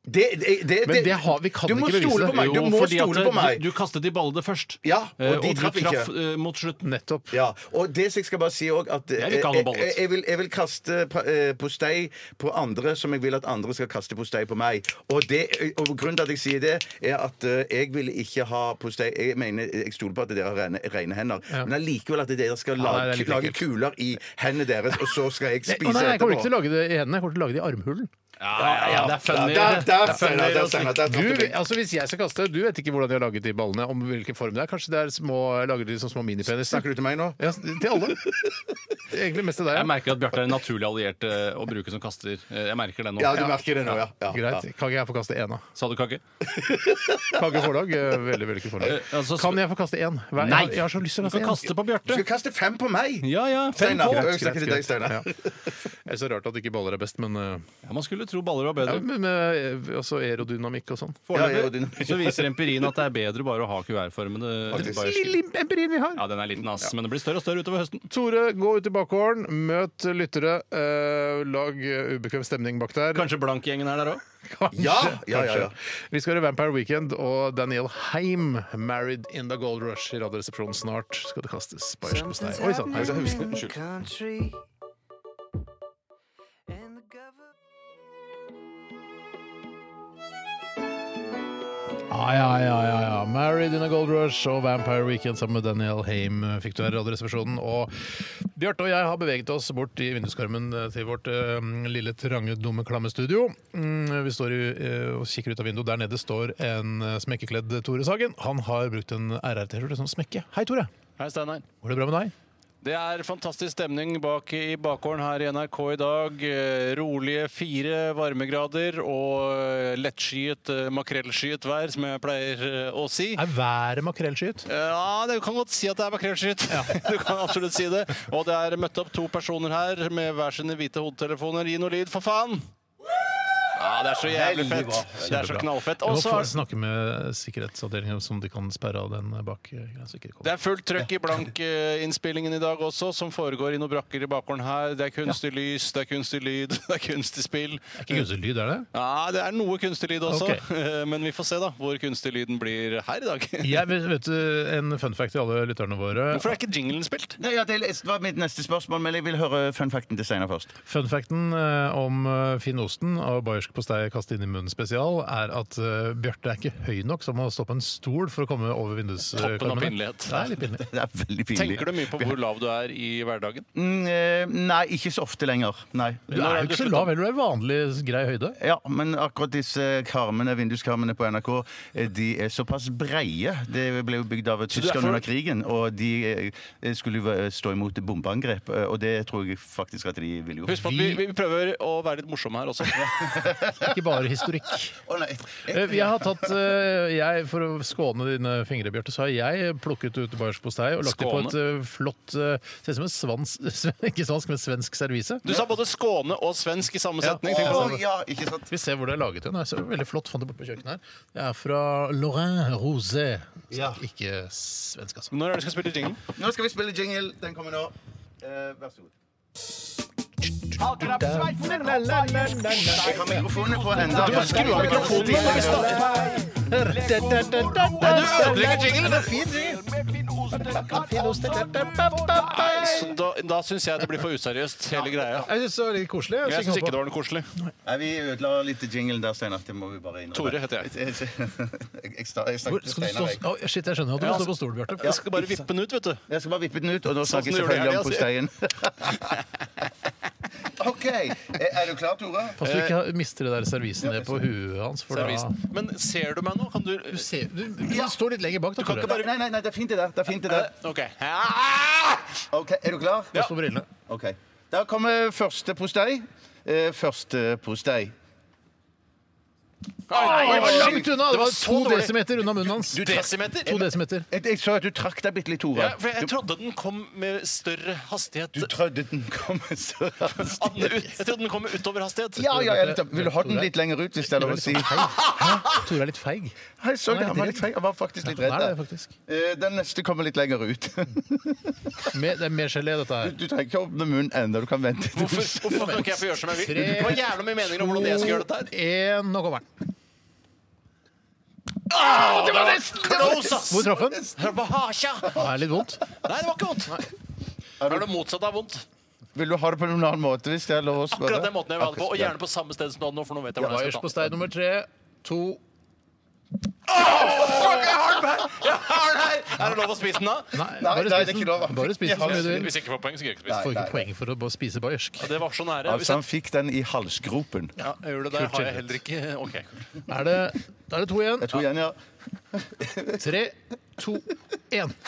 Det, det, det, Men det har- vi kan du må ikke bevise stole det. på meg! Du Jo, må fordi at stole på meg! Du, du kastet de ballene først. Ja, og Eh, de du traff ikke. eh, mot slutten. Nettopp. Ja, og det som jeg skal bare si også, at eh, Jeg vil jeg, ikke ha noe ballet. jeg, vil, jeg vil kaste pa- eh, postei på andre som jeg vil at andre skal kaste postei på meg. Og, det, eh, og grunnen til at jeg sier det, er at eh, jeg vil ikke ha postei Jeg mener, jeg stoler på at dere har rene, rene hender, men allikevel at dere skal nei, det lage, er litt lage ekkelt. kuler i hendene deres, og så skal jeg Å, spise nei, jeg kommer ikke etterpå. til å lage det i hendene, jeg kommer til å lage det i armhullen. Ja, ja, det er funny. Der, der, Det er funny Steinar, der, å si. Steinar, der Du, traff du meg. altså Hvis jeg skal kaste, du vet ikke hvordan de har laget de ballene. Om hvilken form det er. Kanskje det er små, jeg lager de som små minipenis. Snakker du til meg nå? Ja, til alle. Det er Egentlig mest til deg. Ja. Jeg merker at Bjarte er en naturlig alliert eh, å bruke som kaster. Eh, Jeg merker det nå. Ja, du merker det nå, ja. ja, ja. Greit. Kan ikke jeg få kaste én, da? Sa du kake? Kage forlag? eh, Veldig vellykket forlag. Eh, altså, Kan jeg få kaste én? Hver- Nei! Jeg har så lyst til å Du kan kaste én. kaste på Du Bjarte. skal kaste fem på meg! Ja, ja. Fem Steinar. på. Jeg snakker til deg, Steinar. Ja. Det er så rart at ikke baller er best, men eh, Ja, man skulle tro baller var ja, bedre. men med eh, altså aerodynamikk og sånn. Ja, ja, og din- Foreløpig så viser empirien at det er bedre bare å ha kuvertformede Faktisk. bayerske. Lille empirien vi har. Ja, den er liten, ass, men det blir større og større utover høsten. Tore, gå ut i bakgården, møt lyttere, eh, lag eh, ubekvem stemning bak der. Kanskje blankgjengen er der òg? Kanskje. Ja, ja, ja, ja. kanskje. Vi skal høre Vampire Weekend og Daniel Heim, 'Married in the Gold Rush', i Radioresepsjonen snart. Skal det kastes bayersk postei? Oi sånn. sann. hei sann. Ja, ja, ja, ja, ja. 'Married in a Gold Rush' og 'Vampire Weekend' sammen med Daniel Heim eh, fikk du her i Radioresepsjonen. Og Bjarte og jeg har beveget oss bort i vinduskarmen eh, til vårt eh, lille, trange, dumme, klamme studio. Mm, vi står i, eh, og kikker ut av vinduet. Der nede står en eh, smekkekledd Tore Sagen. Han har brukt en RR-T-skjorte som smekke. Hei, Tore. Hei, Steinar. Går det bra med deg? Det er fantastisk stemning bak i bakgården her i NRK i dag. Eh, Rolige fire varmegrader og eh, lettskyet, eh, makrellskyet vær, som jeg pleier eh, å si. Er været makrellskyet? Eh, Ja, Du kan godt si at det er makrellskyet. Du kan absolutt si det. Og det er møtt opp to personer her med hver sine hvite hodetelefoner. Gi noe lyd, for faen! Ja, det er så jævlig fett. Det er så knallfett. Jeg Og må så få er snakke med sikkerhetsavdelingen om de kan sperre av den bak. eh, greia, så ikke det Det kommer. er fullt trøkk i blank-innspillingen i dag også, som foregår i noen brakker i bakgården her. Det er kunstig lys, det er kunstig lyd, det er kunstig spill. Det er ikke gunstig lyd, er det? Ja, det er noe kunstig lyd også, Ok. men vi får se da hvor kunstig lyden blir her i dag. Jeg vet, vet du, En fun fact til alle lytterne våre. Hvorfor er ikke jinglen spilt? Nei, ja, det var mitt neste spørsmål, men jeg vil høre fun facten til Steinar først. Fun facten eh, om eh, Finn Osten og bayersk postei kaste inn i munnen spesial er at eh, Bjarte er ikke høy nok, så han må stå på en stol for å komme over vinduskarmene. Toppen av pinlighet. Det er litt pinlig. Det er veldig pinlig. Tenker du mye på hvor lav du er i hverdagen? Mm, eh, nei, ikke så ofte lenger. Nei. Du er jo ikke så lav heller, du er vanlig grei høyde. Ja, men akkurat disse karmene, vinduskarmene på NRK eh, de er såpass breie. Det ble jo bygd av tyskerne under krigen, og de eh, skulle jo eh, stå imot bombeangrep. eh, Og det tror jeg faktisk at de ville gjort. Husk på at vi, vi prøver å være litt morsomme her også. Ikke bare historikk. Å, nei. Eh, Jeg har tatt, eh, jeg, For å skåne dine fingre, Bjarte, så har jeg plukket ut bayersk postei og lagt det på Skåne? et eh, flott eh, Ser ut som en svans, ikke svansk, men svensk servise. Du sa både Skåne og svensk i samme Ja. setning. Å, Tenk på det. ja, ikke sant? Vi ser hvor det er laget hen. Jeg ser Veldig flott. Fant det borte på kjøkkenet her. Det er fra Lorrain Rosé. Så Ja. Ikke svensk, altså. Når er det du skal spille jinglen? Nå skal vi spille jingle. Den kommer nå. Eh, vær så god. Jeg har mikrofonene på enda. Du må skru av mikrofonen. Du ødelegger jinglen! Nei, så da da syns jeg det blir for useriøst, hele greia. Jeg syns det var litt koselig. å synge Jeg syns ikke på. det var noe koselig. Nei, vi ødela litt jinglen der, Steinar. Det må vi bare innrømme. Tore heter jeg. Jeg, jeg, sta- Hvor, jeg snakket skal med du stå, Steinar, jeg. Å, shit, jeg skjønner at du må stå på stol, Bjarte. Jeg skal bare vippe den ut, vet du. Jeg skal bare vippe den ut, og nå Sånn snakker jeg som du gjør selvfølgelig om det posteien. OK. Er du klar, Tore? Pass så Altså, du ikke mister det der servisen ned på huet hans. For da- Men ser du meg nå? Kan du Du ser- du, du står litt lenger bak. Da, kan Tore. ikke bare- Nei, nei, nei, det er fint, det der. Det er fint det der. OK. Ok, Er du klar? Pass på brillene. Ok. Da kommer første postei. Eh, Første postei. Det var langt unna! Det var var så to dårlig. desimeter unna munnen hans. Du, desimeter? To desimeter. Jeg, jeg så at du trakk deg bitte litt, Tore. Ja, for jeg trodde den kom med større hastighet. Du trodde den kom så raskt. At den ut- Jeg trodde den kom med utoverhastighet. Ja, ja, ja, litt- Vil du ha den litt lenger ut, hvis det er lov å si? Tore er litt feig. Jeg så det, han var litt feig. Han var faktisk litt Han er det, redd. der. faktisk. Eh, Den neste kommer litt lenger ut. Mer- Det er mer gelé, dette her. Du trenger ikke åpne munnen ennå. Du kan vente. til Hvorfor, hvorfor kan ikke jeg få gjøre som jeg vil? Det var jævla mye meninger om hvordan jeg skal gjøre dette her. En, nå kommer den. Close, ass! Hvor traff den? Det Det var hasja. Nei, er litt vondt. det var ikke vondt. Det er det motsatte av vondt. Vil du ha det på noen annen måte, hvis det er lov å spørre? Akkurat den måten jeg vil ha det på, og gjerne på samme sted som nå, nå, for nå vet jeg hvordan jeg Bayers skal på ta stein nummer tre. To den. Er det lov å spise den, da? Nei, Nei, bare nei, det spis er ikke den. lov. Bare spis den så mye du vil. Hvis jeg ikke får poeng, så greier jeg ikke å spise. Får ikke poeng for å bare spise bayersk. Ja, Det var så nære. Hvis Altså, jeg, han fikk den i halsgropen. ja, jeg gjør det der, har jeg heller ikke OK. Er det, da er det to igjen. Jeg tror igjen, ja. Tre, to, én.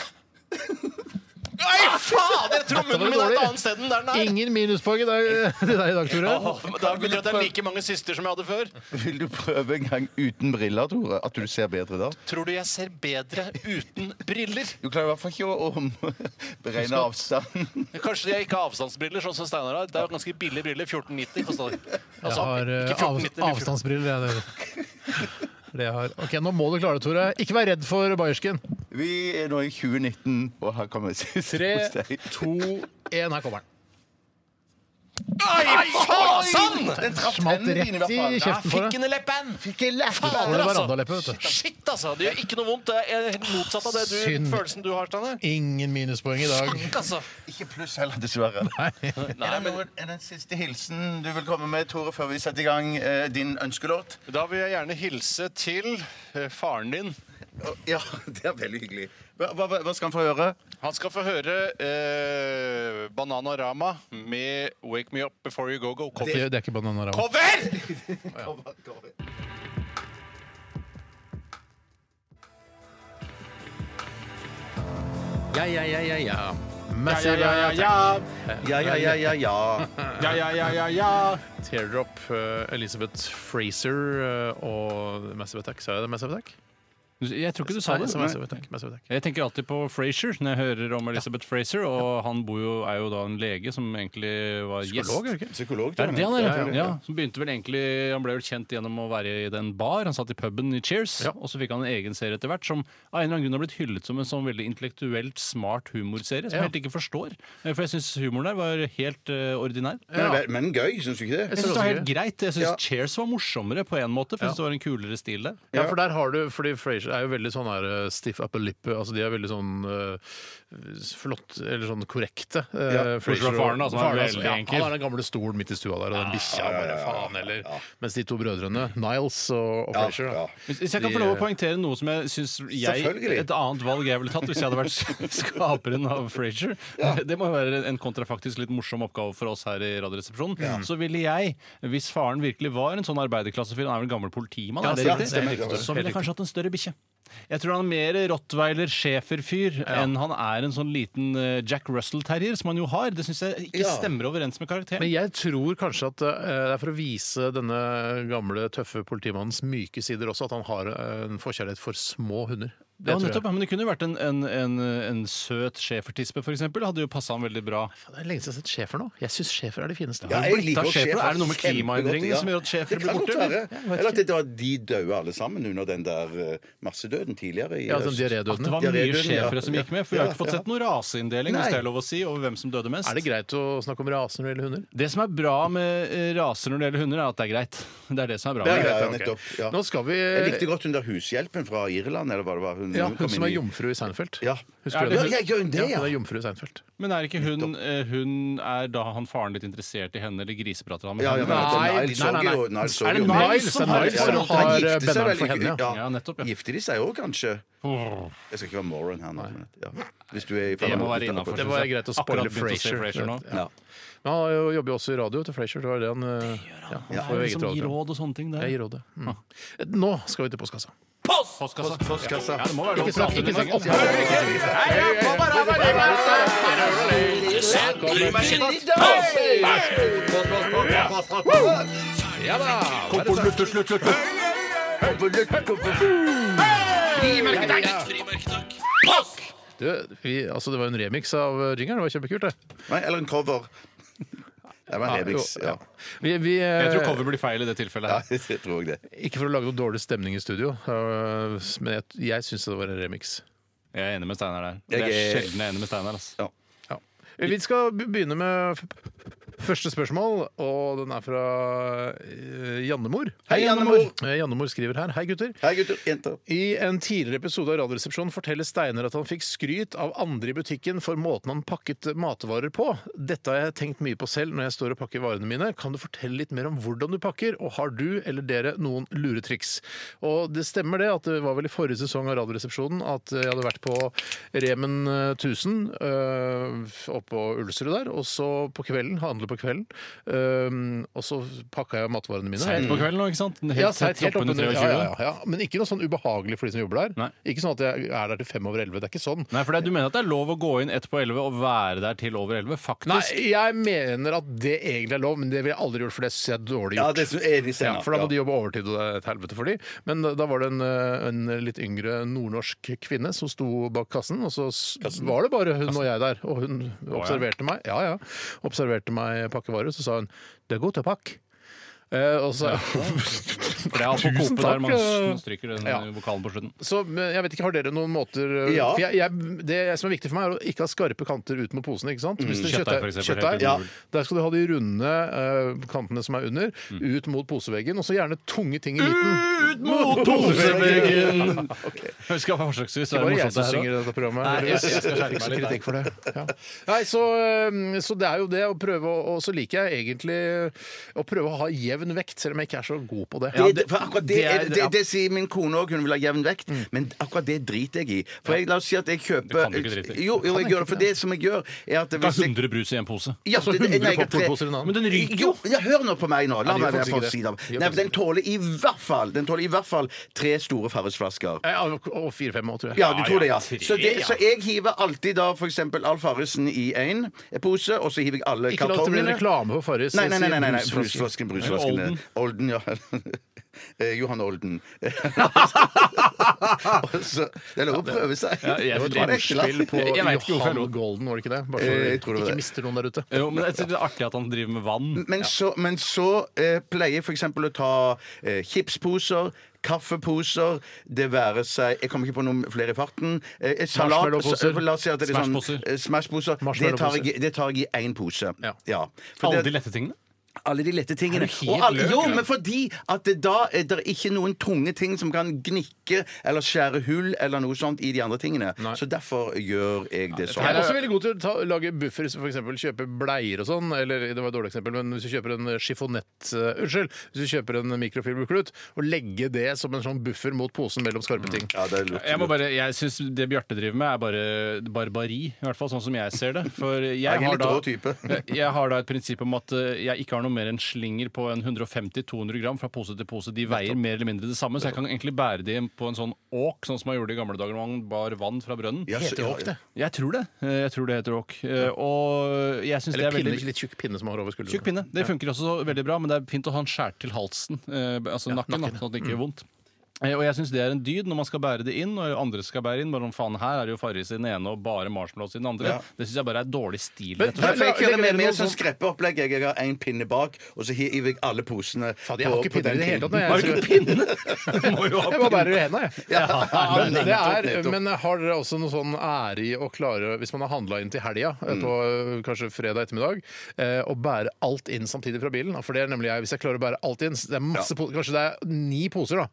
Nei, fader! Jeg tror munnen min er et annet sted enn der den er. Ingen minuspoeng i dag eh, til deg i dag, Tore. Åh, Da betyr det at det er like mange søster som jeg hadde før. Vil du prøve en gang uten briller, Tore? At du ser bedre da? Tror du jeg ser bedre uten briller? Du klarer i hvert fall ikke å om- beregne avstanden. Kanskje jeg ikke har avstandsbriller, sånn som Steinar har. Det er jo ganske billige briller. 1490 kosta de. Jeg Altså, har eh, ikke av, 1490, men 14. avstandsbriller. Jeg, det. er Det jeg har. Ok, Nå må du klare det, Tore. Ikke vær redd for bayersken. Vi er nå i 2019, og her kommer siste Tre, postei. to, én. Her kommer den. Ai, fasan! Sånn! Den traff Smalt enden din, i hvert rett i fall. Ja, kjeften for fikk deg. den i leppen! Fikk jeg lært Var Fader, det altså. verandaleppe, vet du? Shit, altså. Det gjør ikke noe vondt. Det er helt motsatt av det du, Synd. følelsen du har, Steinar. Ingen minuspoeng i dag. Fuck, altså. Ikke pluss heller, dessverre. Nei, Er det noen, er det en siste hilsen du vil komme med, Tore, før vi setter i gang eh, din ønskelåt? Da vil jeg gjerne hilse til eh, faren din. Å, Ja, det er veldig hyggelig. Hva, hva, hva skal han få høre? Han skal få høre eh, Bananarama med 'Wake Me Up Before You Go Go'. Det, det er ikke bananarama. Cover! Ja, ja, ja, ja, ja. Ja, ja, Massive ja, ja, ja. Ja, ja, ja, ja, ja. Ja, ja, ja, ja, ja. Teardrop, eh, Elizabeth Fraser eh, og Massive Attack. Sa jeg det? Massive Attack? Jeg tror ikke du Nei, sa det. jeg sa Massive Attack. Massive Attack. Jeg tenker alltid på Frasier når jeg hører om Elizabeth Fraser. Og han bor jo, er jo da en lege som egentlig var gjest. Psykolog, er det ikke? Psykolog, Er det det han er? Ja, ja, Ja, Som begynte vel egentlig, Han ble vel kjent gjennom å være i den bar. Han satt i puben i Cheers, Ja. og så fikk han en egen serie etter hvert som av en eller annen grunn har blitt hyllet som en sånn veldig intellektuelt smart humorserie som Ja. jeg helt ikke forstår. Eh, For jeg syns humoren der var helt eh, ordinær. Men, men gøy, syns du ikke det? Jeg synes det var helt gøy. greit. Jeg syns Cheers var morsommere på en måte, for jeg synes det var en kulere stil der. Ja, for der har du, fordi Frasier er jo veldig sånn her eh, stiff upper lip altså De er veldig sånn eh, flott, eller sånn korrekte. eh, Bortsett Frasier fra og- faren, da, som er Faren, altså, veldig ja, enkel. Han har den gamle stolen midt i stua der, og Ah, den bikkja bare faen heller. Mens de to brødrene, Niles og, og Frasier, da. Hvis, hvis jeg kan få eh, lov å poengtere noe som jeg syns jeg Selvfølgelig. Et annet valg jeg ville tatt hvis jeg hadde vært skaperen av Frasier. Det må jo være en kontrafaktisk litt morsom oppgave for oss her i Radioresepsjonen. Så ville jeg, hvis faren virkelig var en sånn arbeiderklassefyr, han er vel gammel politimann, er det ja, riktig? det er helt riktig. så ville jeg kanskje hatt en større bikkje. Jeg tror han er mer rottweiler-schæfer-fyr enn han er en sånn liten eh, Jack Russell-terrier, som han jo har. Det syns jeg ikke stemmer overens med karakteren. Men jeg tror kanskje at eh, det er for å vise denne gamle, tøffe politimannens myke sider også, at han har eh, en forkjærlighet for små hunder. Det ja, tror jeg. nettopp, men det kunne jo vært en, en, en, en søt schæfertispe, f.eks. Hadde jo passa han veldig bra. Faen, Det er lenge siden jeg har sett schæfer nå. Jeg syns schæfer er de fineste. Ja, jeg liker Blitt av også schæfer. schæfer Er det noe med kjempegodt, klimaendringene ja. som gjør at schæfer Det blir kan borte, godt være. eller? Jeg vet Eller at det var de døde alle sammen under den der eh, massedøden tidligere i Ja, sånn Det diarédødende. var mye Diaré-døden, ja. schæfere som gikk med, for vi har ikke fått sett noen raseinndeling, hvis Nei. det er lov å si, over hvem som døde mest. Er det greit å snakke om raser når det gjelder hunder? Det som er bra med eh, raser når det gjelder hunder, er at det er greit. Det er det som er bra. Ja, med ja, det. ja, ok. nettopp. Ja. Nå skal vi Jeg likte godt hun der hushjelpen fra Irland, eller hva det var. Hun hun, Ja, hun hun kom som er inn i- jomfru i Seinfeld. Ja. Husker du Ja, det? ja, gjør hun det, Ja, ja? hun er jomfru i Seinfeld. Men er ikke hun eh, Hun er da han faren litt interessert i henne, eller griseprater han med Ja, ja, henne? men Nei, Niles nei, så nei, jo- nei. Niles så Er det jo- Niles Niles som har- har- ja, som han har gifter seg benneren vel- for henne, ja. Ja, nettopp, ja. Gifter de seg òg, kanskje? Jeg skal ikke være moron her nå. men- Ja. Hvis du er i Det må være innafor. Det var greit å spoile Frasier. Frasier nå. Ja. Men han jo- jobber jo også i radio til Frasier. Det var det han, eh, ja, han liksom får jo sånn eget Som gir radioprogram. råd og sånne ting der. Jeg gir rådet. Mm. Nå skal vi til postkassa. Postkassa. Postkassa. Ja, det må være lov Ikke snakk, ikke snakk. til å Du, vi, altså, det var jo en remix av eh, jingeren. Det var kjempekult, det. Nei, eller en cover. Det var en remix. jo, Ja. Vi, vi, eh, Jeg tror cover blir feil i det tilfellet. her. Jeg tror også det. Ikke for å lage noe dårlig stemning i studio, eh, men jeg, jeg syns det var en remix. Jeg er enig med Steinar der. Det Jeg er er- sjelden jeg er enig med Steinar. altså. ass. Ja. Vi skal be- begynne med f- første spørsmål, og den er fra eh, Jannemor. Hei, Jannemor. Eh, Jannemor skriver her. Hei, gutter. Hei, gutter. Jenter. I en tidligere episode av Radioresepsjonen forteller Steinar at han fikk skryt av andre i butikken for måten han pakket matvarer på. Dette har jeg tenkt mye på selv når jeg står og pakker varene mine. Kan du fortelle litt mer om hvordan du pakker, og har du eller dere noen luretriks? Og det stemmer det at det var vel i forrige sesong av Radioresepsjonen at jeg hadde vært på Remen eh, 1000 øh, oppå Ulsrud der, og så på kvelden, handle på kvelden, øh, og så pakka jeg matvarene mine. Seint på kvelden nå, ikke sant? Helt, Ja, seigt, helt oppunder oppunder, 23. ja, ja, ja, ja. Men ikke noe sånn ubehagelig for de som jobber der. Nei. Ikke sånn at jeg er der til fem over elleve. Det er ikke sånn. Nei, for det, Du mener at det er lov å gå inn ett på elleve og være der til over elleve? Nei, Faktisk. jeg mener at det egentlig er lov, men det ville jeg aldri gjort, for det syns jeg er dårlig Ja, gjort. det er så enig Ja, Steinar. for da må Ja. de jobbe overtid, og det er et helvete for de. Men da- da var det en, eh, en litt yngre nordnorsk kvinne som sto bak kassen, og så s- var det bare hun og jeg der. Og hun observerte meg ja, ja, observerte meg pakkevarer, så sa hun 'det er godt å pakke'. Eh, og så, For det er altså Tusen Coop der man takk, ja. s- stryker den Ja. eh, vokalen på slutten. Så men jeg vet ikke, Har dere noen måter øh, Ja. for jeg, jeg, Det som er viktig for meg, er å ikke ha skarpe kanter ut mot posen. ikke Mm. sant? Hvis det er Kjøttdeig, for eksempel, helt kjøttdeig, Ja. Der skal du ha de runde eh, kantene som er under, Mm. ut mot poseveggen. Og så gjerne tunge ting i Mm! midten. Ut mot poseveggen! Vi skal forsøksvis Det være var jeg morsomt som her. synger i dette programmet. Nei, jeg- jeg skal skjerpe Fikk så meg litt kritikk for det. Ja. Nei, så, eh, så det er jo det å prøve å Og så liker jeg egentlig øh, å prøve å ha jevn vekt, selv om jeg ikke er så god på det. Det, det, for akkurat det, det er- er- det, det sier min kone òg, hun vil ha jevn vekt, men akkurat det driter jeg i. For jeg, la oss si at jeg Det kan kjøper du ikke drite i. Jo, jo jeg gjør det, for det som jeg gjør, er at Det hvis er jeg 100 brus i en pose. ja, Altså det- det- 100 nei, jeg- popcornposer i en annen. Men den ryker Jo, jo! ja, hør nå på meg nå. La Ja, de meg gjør være faktisk for ikke det. si det. De gjør Nei, faktisk for den tåler i hvert fall Den tåler i hvert fall tre store Farris-flasker. Ja, og fire-fem år, tror jeg. Ja, du tror det, ja. Så, det, så jeg hiver alltid da f.eks. Alf Harrison i én pose, og så hiver jeg alle Ikke lag til min kartongene. reklame for Farris. Nei, nei, nei, nei, nei, nei. Brusflasker. brusflasken, brusflasken. Olden. Olden, ja. Eh, Johan Olden. Og så- det er lov å prøve seg. Ja, jeg- Det var Det var et ekte lapp. ordspill på Jeg- jeg vet ikke hvorfor jeg Johan lo. Golden, var det ikke det? Bare Eh, så jeg tror det var ikke det. mister noen der ute. Jo, men jeg synes Det er artig at han driver med vann. Men så, men så eh, pleier jeg f.eks. å ta eh, chipsposer, kaffeposer, det være seg Jeg kommer ikke på noen flere i farten. Eh, eh, salat Marshmallowposer. så- La oss si at det er sånn Smashposer. eh, Smashposer. Det tar Marshmallowposer. jeg, i- det tar jeg i én pose. Ja. For Alle det- de lette tingene. alle de lette tingene. Er du helt Og alle, løk, jo, eller? men fordi at det da eh, er det ikke noen tunge ting som kan gnikke eller skjære hull eller noe sånt i de andre tingene. Så derfor gjør jeg det sånn. Jeg er også veldig god til å ta, lage buffer, som f.eks. kjøpe bleier og sånn. Eller det var et dårlig eksempel, men hvis du kjøper en chiffonett eh, Unnskyld, hvis du kjøper en mikrofiberklut, og legge det som en sånn buffer mot posen mellom skarpe ting. Ja, det er lurt. Jeg, må bare, jeg syns det Bjarte driver med, er bare barbari. I hvert fall sånn som jeg ser det. For jeg, Jeg er har litt da, rå type. jeg har da et prinsipp om at eh, jeg ikke har noe mer enn slinger på en 150-200 gram fra pose til pose. De veier mer eller mindre det samme, så jeg kan egentlig bære de på en sånn åk, sånn som man gjorde i gamle dager når man bar vann fra brønnen. Ja, så- Heter åk, det. Jeg tror det. Eh, Jeg tror det heter åk. Eh, Og jeg syns det Eller er pinne, liksom. veldig litt tjukk pinne som man har over skulderen. Tjukk pinne. Det funker også veldig bra, men det er fint å ha en skjært til halsen. Eh, altså nakken, da, sånn at det ikke gjør vondt. Eh, Og jeg syns det er en dyd når man skal bære det inn, og andre skal bære inn. Bare om faen, her er det jo Farris i den ene og bare marshmallows i den andre. Ja. Det syns jeg bare er dårlig stil. Men- rett og Nei, slett. for jeg Legger kjører med dere mer noe sånn sånn- skreppeopplegg. Jeg har én pinne bak, og så hiver jeg alle posene Faen, jeg har ikke pinne i det hele tatt. pinne. når jeg- Må jo ha Jeg bare bærer i hendene, jeg. Ja, Men, det er, nettopp, nettopp. men har dere også noe sånn ære i å klare, hvis man har handla inn til helga, Mm. eh, på eh, kanskje fredag ettermiddag, eh, å bære alt inn samtidig fra bilen? For det er nemlig jeg. Hvis jeg klarer å bære alt inn, så det er masse po- kanskje det er ni poser, da.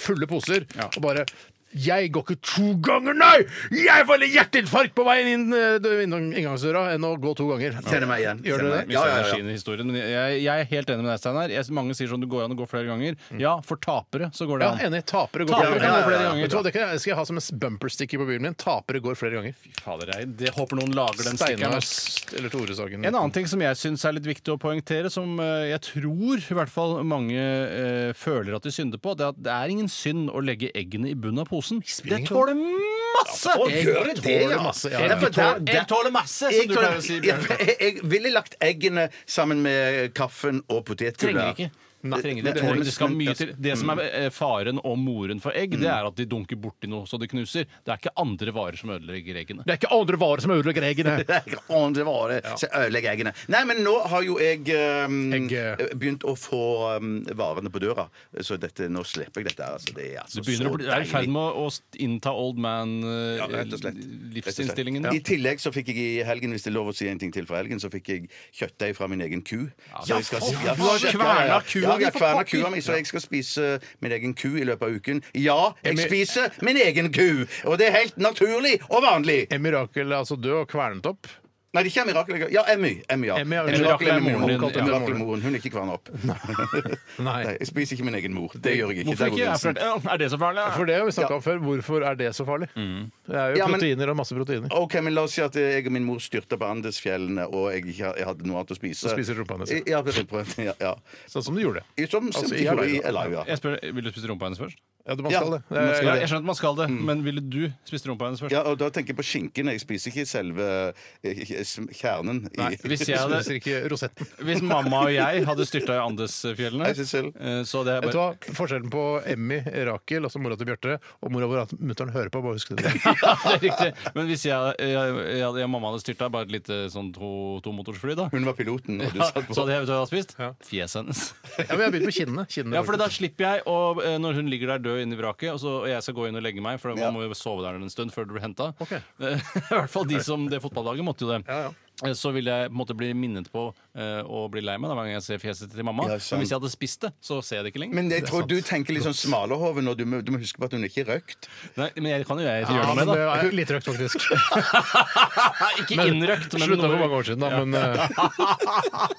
Fulle poser. Og bare Jeg går ikke to ganger, nei! Jeg får litt hjerteinfarkt på veien inn eh, dø- innom inngangsdøra enn å gå to ganger. Kjenner meg Gjør dere igjen. Kjenner meg det? igjen. Ja, ja, ja. energien i historien. Men jeg, jeg er helt enig med deg, Steinar. Jeg- Mange sier sånn det går an å gå flere ganger. Ja, for tapere så går det Ja, an. enig. Tapere går Tapere flere kan gå flere ganger. ganger. Vet du hva, Det kan jeg- skal jeg ha som en bumpersticker på bilen min. Tapere går flere ganger. Fy Fader, jeg det håper noen lager den stikkeren. Steinar ass. eller Tore Sagen. En annen ting som jeg syns er litt viktig å poengtere, som eh, jeg tror i hvert fall mange eh, føler at de synder på, det er at det er ingen synd å legge eggene i bunnen av posen. Det tåler masse! Å, gjør det det, ja? tåler masse, ja. Ja, for der- der- tåler masse, Jeg, tåler- Ja, for jeg, jeg ville lagt eggene sammen med kaffen og potetgullet. Trenger ikke. Nei, trenger det, det- altså. trenger, det- det skal mye til. Det som er eh, faren og moren for egg, det Mm. er at de dunker borti noe så det knuser. Det er ikke andre varer som ødelegger eggene. Det er ikke andre varer som ødelegger eggene. Om det var det, så ødelegger eggene. Nei, men nå har jo jeg ehm, Egg, eh. begynt å få ehm, varene på døra, så dette, nå slipper jeg dette. her, Altså, det er Du altså begynner så å bli, det er i ferd deilig. med å å innta old eh, Ja, rett og slett. man-livsinnstillingen. I tillegg så fikk jeg i helgen, hvis det er lov å si en ting til fra helgen, så fikk jeg kjøttdeig fra min egen ku. Så jeg skal- for faen, ja, du har shit, ja, kverna ja. kua Ja, di, jeg for kverna pokker. kua mi, så jeg skal spise min egen ku i løpet av uken. Ja, jeg Emil- spiser min egen ku! Og det er helt naturlig og vanlig! En mirakel, altså død og kvernet opp. Nei, det er ikke Mirakel. Ja, Emmy. Emmy, ja. Emmy, ja. Mirakel Mirakel er er moren moren. din. Omkalt Ja. etter Mirakel er moren. Hun er ikke kverna opp. Nei. Nei, jeg spiser ikke min egen mor. Det gjør jeg ikke. Hvorfor Der går ikke? Er grensen. det- Er det så farlig? For det har vi snakka om før. Hvorfor er det så farlig? Det er jo Ja, men- proteiner og masse proteiner. Ok, men La oss si at jeg og min mor styrta på Andesfjellene, og jeg, ikke- jeg hadde noe annet å spise. Så spiser du rumpa hennes, Ja, rumpa. Ja, ja. Sånn som du gjorde. Som, som Altså, i i Alive, Alive. da. Alive, ja. Jeg spør, vil du spise rumpa hennes først? Ja, du- man Ja, skal det. man skal Eh, Ja, jeg skjønner at man skal det, men ville du spist rumpa hennes først? ja, og Da tenker jeg på skinken. Jeg spiser ikke selve eh, kjernen. I, Nei, hvis, Du jeg hadde, spiser ikke rosetten. hvis mamma og jeg hadde styrta i Andesfjellene Nei, Sissel. eh, så hadde jeg Vet du bare hva? Forskjellen på Emmy, Rakel, altså mora til Bjarte, og mora vår at mutter'n hører på. Bare husk det. ja, det er riktig. Men hvis jeg, jeg, jeg, hadde- mamma hadde styrta bare et lite sånn to- tomotorsfly, da, Hun var piloten, og du ja, så satt på. hadde jeg vet du hva jeg hadde spist Ja. fjeset hennes. Ja, men jeg begynte på kinnene. kinnene Ja, for da faktisk. slipper jeg å, eh, når hun ligger der død inne i vraket, og, så, og jeg skal gå inn og legge meg, for Ja. man må jo sove der en stund før du blir henta. Ok. I hvert fall de som det fotballaget måtte jo det. Ja, ja. Eh, Så vil jeg på en måte bli minnet på eh, å bli lei meg hver gang jeg ser fjeset til mamma. Ja, sant. Men hvis jeg hadde spist det, så ser jeg det ikke lenger. Men jeg tror du tenker litt sånn smalahove nå. Du må, du må huske på at hun ikke er røkt. Nei, men jeg kan jo jeg Ja, gjøre noe men med det det. er litt røkt, faktisk. Nei, ikke innrøkt, men Slutta noe- for mange år siden, da. Men eh,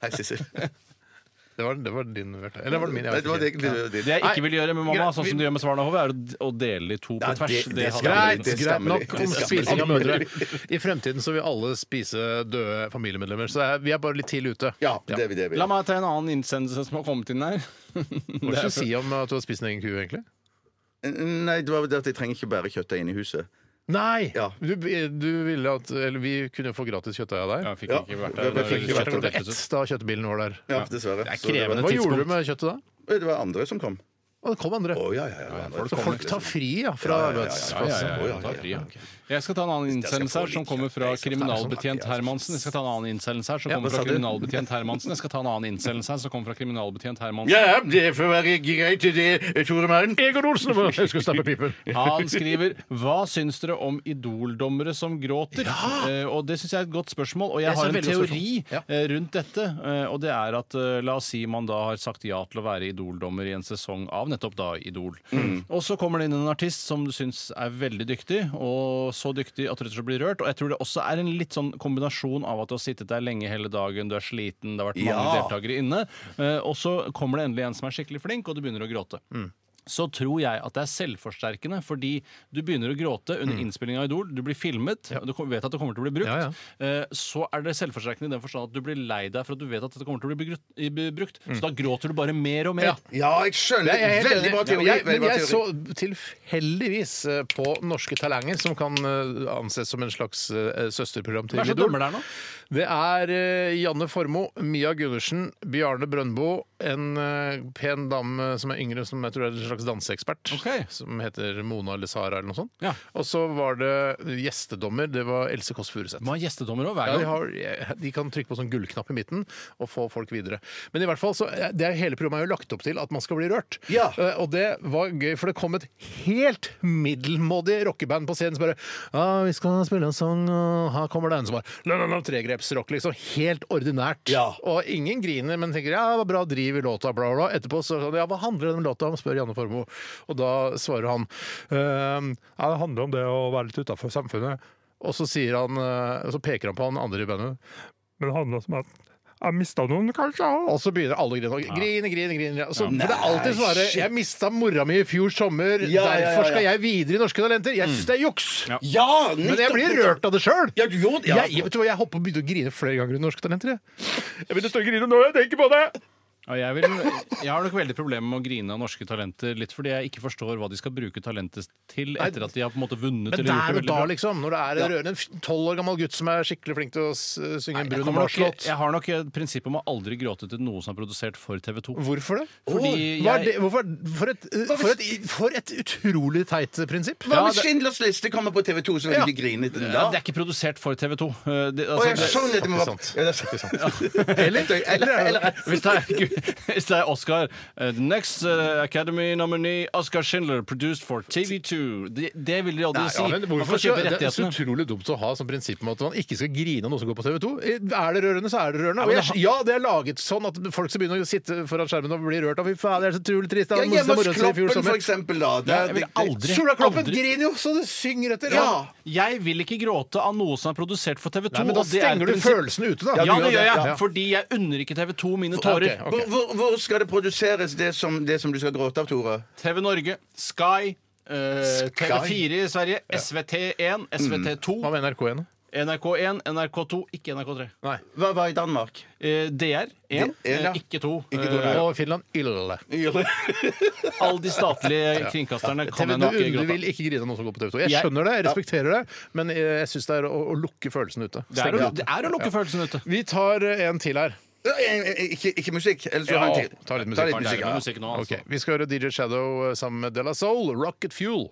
Hei, Sissel. det, var, det var din, Bjarte. Eller var det min? Jeg Nei, vet det var ikke. egentlig det- det- Det jeg Nei, ikke vil gjøre med mamma, greit, sånn som vi- du gjør med Svarnehove, er å d- å dele i to på Nei, tvers. det- det hadde jeg- skal jeg- Greit, Det greit skammer nok de. om Det skammer spising de. av mødre. I fremtiden så vil alle spise døde familiemedlemmer, så det er- vi er bare litt tidlig ute. Ja, det er vi. Det er vi. La meg ta en annen innsendelse som har kommet inn her. Hva Det skal er du si om at du har spist en egen ku, egentlig? Nei, det var vel det at jeg trenger ikke bære kjøttdeig inn i huset. Nei! Ja. Du, du ville at Eller vi kunne få gratis kjøttdeig av deg. Ja, jeg fikk Ja, ikke vært jeg der. fikk ikke vært Kjøttet der. Klokka dettes ut. ett da kjøttbilen var der. Ja, dessverre. er Så det var- krevende. Hva gjorde tidspunkt. du med kjøttet da? Det var andre som kom. Å, det kom andre. Å, ja, ja, ja. det var andre Så som kom, folk tar liksom. fri ja, fra Ja, ja, ja, Ja, ja, ja. arbeidsplassen. ja, Å, ja, ja, ta ja, fri, ja, ja. Jeg skal ta en annen skal få innsendelse her litt, som kommer fra jeg skal ta en sånn kriminalbetjent pakke, jeg. Hermansen. Jeg skal ta en annen innsendelse her som Ja, hva kommer sa fra du? kriminalbetjent Hermansen. Jeg skal ta en annen innsendelse her som kommer fra kriminalbetjent Hermansen. Ja, det får være greit til det, Tore Mann. Egon Olsen! Jeg skulle stappe pipen. Han skriver Hva syns dere om idoldommere som gråter? Eh, og det syns jeg er et godt spørsmål. Og jeg, synes har det er en et veldig godt teori spørsmål. eh, rundt dette. eh, og det er at eh, la oss si man da har sagt ja til å være idoldommer i en sesong av nettopp da Idol. Mm. Og så kommer det inn en artist som du syns er veldig dyktig, og så dyktig at du rett og slett blir rørt. Og jeg tror det også er en litt sånn kombinasjon av at du har sittet der lenge hele dagen, du er sliten, det har vært mange Ja. deltakere inne, eh, og så kommer det endelig en som er skikkelig flink, og du begynner å gråte så tror jeg at det er selvforsterkende, fordi du begynner å gråte under innspilling av Idol, du blir filmet, og du kom- vet at det kommer til å bli brukt. Mm. Ja, Eh, Så er det selvforsterkende i den forstand at du blir lei deg for at du vet at det kommer til å bli brukt- i- brukt. Så da gråter du bare mer og mer. Mm. Ja. Ja, jeg skjønner. Jeg er helt Veldig bra enig. teori. Jeg, veldig men bra jeg teori. så tilfeldigvis eh, på Norske Talanger, som kan eh, anses som en slags eh, søsterprogram til Hva er det som Idol. dømmer der nå? Det er eh, Janne Formoe, Mia Gundersen, Bjarne Brøndbo, en eh, pen dame som er yngre, som jeg tror er en slags danseekspert Ok. som heter Mona eller Sara eller noe sånt. Ja. Og så var det gjestedommer. Det var Else Kåss Furuseth. De har gjestedommer òg hver Ja, gang. de, har, de kan trykke på sånn gullknapp i midten og få folk videre. Men i hvert fall, så er- det er hele programmet er jo lagt opp til at man skal bli rørt. Ja. Eh, Og det var gøy, for det kom et helt middelmådig rockeband på scenen som bare Ja, vi skal spille en sang, og her kommer det en som bare «La, la, la», Tregrepsrock, liksom. Helt ordinært. Ja. Og ingen griner, men tenker ja, det var bra driv i låta, bla, bla. Etterpå så sånn, ja, hva handler den låta om, spør Janne Formoe. Og da svarer han «Ehm, ja, det handler om det å være litt utafor samfunnet. Og så, sier han, eh, så peker han på han andre i bandet. Men det handler om at jeg mista noen, kanskje? Og så begynner alle å grine. og Grine, grine, grine. Så, for det er alltid svaret 'Jeg mista mora mi i fjor sommer, Ja, ja, ja, derfor skal ja. Mm. jeg videre i Norske Talenter'. Jeg syns det er juks! Ja! Men jeg blir rørt av det sjøl! Ja, du gjorde ja. Jeg, vet du hva, jeg holdt på å begynne å grine flere ganger under Norske Talenter. Jeg, jeg begynner å stå og grine når jeg tenker på det! Ja, jeg, vil, jeg har nok veldig problemer med å grine av norske talenter, litt fordi jeg ikke forstår hva de skal bruke talentet til etter at de har på en måte vunnet. Men der eller gjort og det veldig da, bra. liksom. Når det er en rørende tolv år gammel gutt som er skikkelig flink til å s- synge en Nei, jeg, brun og kommer mars nok, låt. jeg har nok et prinsipp om å aldri gråte til noe som er produsert for TV 2. Hvorfor det? Hva Fordi er jeg- det? Hvorfor? For, et, for, et, for et utrolig teit prinsipp. Hva hvis Schindlers liste kommer på TV 2, så vil Ja. du ikke grine til den da? Ja, det er ikke produsert for TV 2. Det, Å, altså, jeg det- skjønner sånn det må være Faktisk Ja, det er sant. Eller? Eller, eller, hvis det er, hvis det er Oscar eh, The next eh, Academy nominee Oscar Schindler produced for TV2 Det, det vil de aldri Nei, si. ja, men Man hvorfor får skal, kjøpe det er så rettighetene. utrolig dumt å ha som prinsipp om at man ikke skal grine av noe som går på TV 2. Er det rørende, så er det rørende. Ja, Og men jeg, det- ja, det er laget sånn at folk som begynner å sitte foran skjermen og bli rørt av Fy faen, det er så utrolig trist. Det ja, er det hjemme morsomste moroa si hos i fjor Kloppen, for sommer. eksempel, da. Det er- Jeg vil aldri, Sola Kloppen aldri griner jo så det synger etter. Ja. Jeg vil ikke gråte av noe som er produsert for TV 2. Nei, men da stenger du følelsene ute, da. Ja, Du det gjør jeg. Ja. Fordi jeg unner ikke TV 2 mine Ok, tårer. ok. Hvor, hvor, hvor skal det produseres, det som, det som du skal gråte av, Tore? TV Norge, Sky, eh, TV4 i Sverige, Mm. Hva SVT1, SVT2, med NRK igjen? da? NRK1, NRK2, ikke NRK3. Nei. Hva var i Danmark? Eh, DR1, ja. eh, ikke 2. Ikke to, nei. Og Finland Ille. Alle de statlige kringkasterne TV, kan jeg du, nok du gråte av. vil ikke grine av noe som går på TV 2. Jeg Jeg- skjønner det, jeg respekterer det, men eh, jeg syns det er å, å lukke følelsene ute. Det er, Stenge å, det det ute. er å lukke følelsene ute. Vi tar eh, en til her. Ja, eh, eh, Ikke, ikke musikk? Eller så Ja, har jeg en til. ta litt musikk. Det er ja. jo musikk nå, altså. Ok, Vi skal høre DJ Shadow eh, sammen med De La Soul, 'Rocket Fuel'.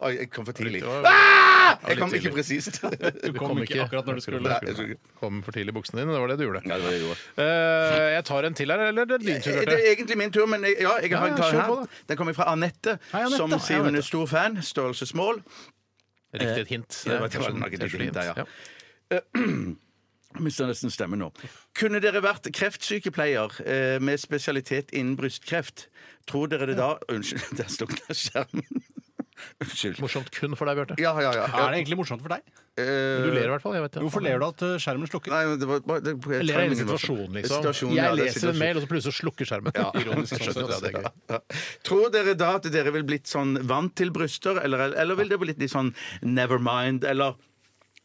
Oi, jeg kom for tidlig. var- Ah! Jeg litt kom ikke tidlig. presist. Du kom ikke akkurat når du skulle. Nei, jeg tror ikke- Kom for tidlig i buksene dine, det var det du gjorde. Nei, det var det jeg gjorde. Eh, Eh, jeg tar en til her, eller er det din tur? Det Bjarte? er egentlig min tur, men jeg- ja, jeg har Ja, en ja, klar kjør på, her. Den kommer fra Anette, Hei, Anette. som Hei, sier hun er stor fan. Størrelsesmål. Riktig et hint. Ja, Eh, det var- det var Kanskje- nok et kanskje hint der, ja. Ja. Jeg mister nesten stemmen nå. Kunne dere vært kreftsykepleier eh, med spesialitet innen brystkreft? Tror dere det da Unnskyld, der sto den skjermen. Unnskyld. Morsomt kun for deg, Bjarte. Ja, ja, ja. Er det egentlig morsomt for deg? Eh, Du ler i hvert fall. jeg vet det. Hvorfor ler du at eh, skjermen slukker? Nei, men det var bare det, jeg Ler tror av hele det var- situasjonen, liksom. Situasjonen, ja, jeg det er leser en situasjonen. mail, og så plutselig slukker skjermen. Ja. Ironisk. sånn sett, ja, det er gøy. Ja. Tror dere da at dere vil blitt sånn vant til bryster, eller, eller vil det bli litt sånn never mind, eller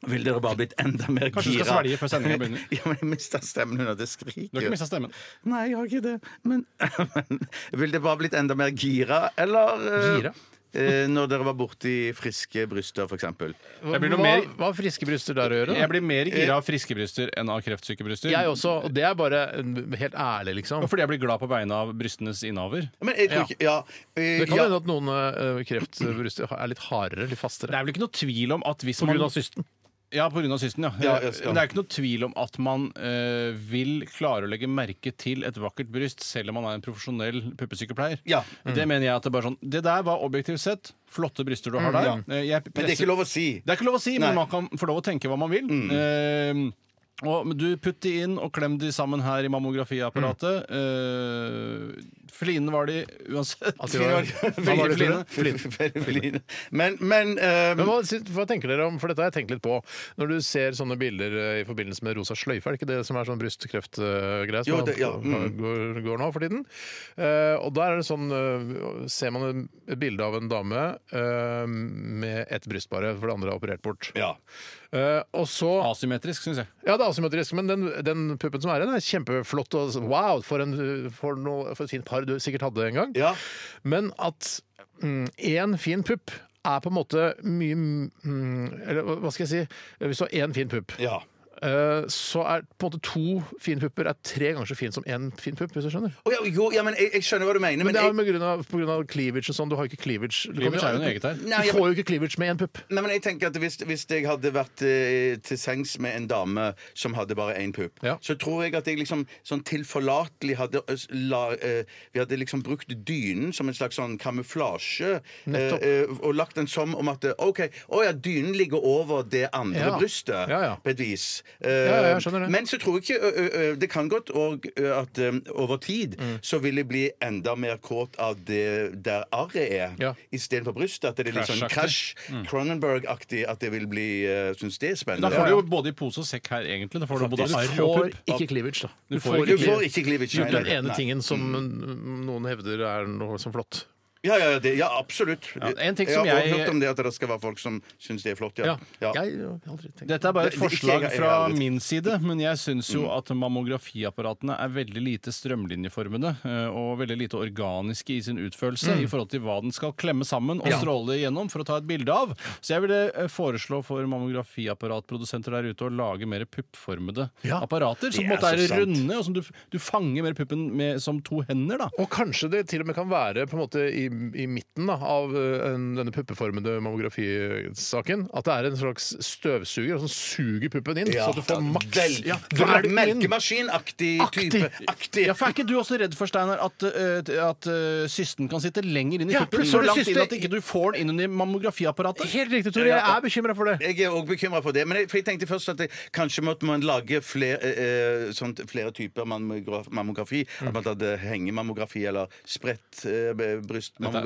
vil dere bare blitt enda mer gira? Kanskje du skal svelge før sendingen begynner? Ja, men jeg mista stemmen under det skriket. Du har ikke mista stemmen. Nei, jeg har ikke det. Men, men vil det bare blitt enda mer gira, eller eh, Gira? eh, når dere var borti friske bryster, for eksempel. Hva, Jeg blir noe hva, mer- har friske bryster der å gjøre? Da? Jeg blir mer Eh. gira av friske bryster enn av kreftsyke bryster. Jeg også, og det er bare mm, helt ærlig, liksom. Og fordi jeg blir glad på vegne av brystenes innehaver. Men jeg tror ikke Ja. eh, Det kan ja. hende at noen eh, kreftbryster er litt hardere, litt Det fastere. er vel ikke noe tvil om at hvis På man grunn av systen. Ja, på grunn av systen, ja. Eh, Ja, ja, ja. Men det er ikke noe tvil om at man eh, vil klare å legge merke til et vakkert bryst, selv om man er en profesjonell puppesykepleier. Ja. Mm. Det mener jeg at det er bare sånn Det der var objektivt sett flotte bryster du har der. Mm, ja. Eh, jeg Men det er presser- ikke lov å si. det er ikke lov å si, Nei. men man kan få lov å tenke hva man vil. Mm. Mm. Eh, og men du putt de inn og klem de sammen her i mammografiapparatet. Eh, Flinene var de uansett. At de var- Veldig Hva var det, tror du? flinene. Fline. Men, men, eh, Men hva, syns- hva tenker dere om, for dette har jeg tenkt litt på, når du ser sånne bilder eh, i forbindelse med rosa sløyfe, er det ikke det som er sånn brystkreftgreie som Jo, det- ja, mm. går, går nå for tiden? Eh, og der er det sånn, eh, ser man en- et bilde av en dame eh, med ett bryst bare, for det andre er operert bort. Ja. Eh, og så... Asymmetrisk, syns jeg. Ja, det er asymmetrisk, men den, den puppen som er igjen, er kjempeflott. Og, wow, for, en, for, noe, for et fint par du sikkert hadde en gang. Ja. Men at én fin pupp er på en måte mye mm, Eller hva skal jeg si Hvis du har én fin pupp, ja. eh, så er på en måte to fine pupper er tre ganger så fin som én fin pupp, hvis du skjønner. Å, ja, jo, ja, men jeg, jeg skjønner hva du mener. Men Men det er jeg, jo med grunn av, på grunn av cleavage og sånn. Du har jo ikke cleavage. Du, Cleavage er jo noe eget her. Nei, du jeg- får jo ikke cleavage med én pupp. nei, men jeg tenker at hvis, hvis jeg hadde vært eh, til sengs med en dame som hadde bare én pupp, Ja. så tror jeg at jeg liksom sånn tilforlatelig hadde øs- la, eh, Vi hadde liksom brukt dynen som en slags sånn kamuflasje. Nettopp. eh, eh, og lagt den som om at eh, OK, å ja, dynen ligger over det andre Ja. brystet, Ja, ja. på et vis. ja, jeg Eh, skjønner det. Men så tror jeg ikke ø, ø, ø, Det kan godt og, ø, at ø, over tid Mm. så vil jeg bli enda mer kåt av det der arret er, Ja. istedenfor brystet. At det er litt sånn crash, Cronenberg-aktig, at det vil bli uh, Syns det er Da spennende. får du jo både i pose og sekk her, egentlig. Da får du både Du arr og får pupp. ikke cleavage, da. Du får ikke Du får ikke cleavage. Gjort nei, den nei, ene nei. tingen som mm, noen hevder er noe som flott. Ja, ja, ja, det, ja absolutt. en ting som jeg har jeg- også hørt om det at det skal være folk som syns det er flott. Ja. Ja. Ja. Jeg har aldri tenkt Dette er bare et Det- det- ikke forslag jeg- jeg- fra jeg- jeg- min side, men jeg syns jo Mm. at mammografiapparatene er veldig lite strømlinjeformede eh, og veldig lite organiske i sin Mm. utførelse i forhold til hva den skal klemme sammen og stråle igjennom for å ta et bilde av. Så jeg ville eh, foreslå for mammografiapparatprodusenter der ute å lage mer puppformede Ja. apparater, som Det er måtte så er sant. runde, og som du, du fanger mer puppen med som to hender, da. Og kanskje det til og med kan være på en måte i, i midten da, av eh, en, denne puppeformede mammografisaken. At det er en slags støvsuger som suger puppen inn, så at du får maks Vel, ja, du er velg den inn. melkemaskinaktig Aktig. type. Aktig. Ja, for Er ikke du også redd for Steiner, at, eh, at eh, cysten kan sitte lenger inn i Ja, puppen? plutselig Så langt inn syste- at ikke du får den inn under mammografiapparatet? Helt riktig, Tore. Jeg er bekymra for det. Jeg er òg bekymra for det. Men jeg, for jeg tenkte først at det, kanskje måtte man lage flere, eh, eh, sånt, flere typer mammograf, mammografi. At man hadde hengemammografi eller spredt eh, b- brystmammografi.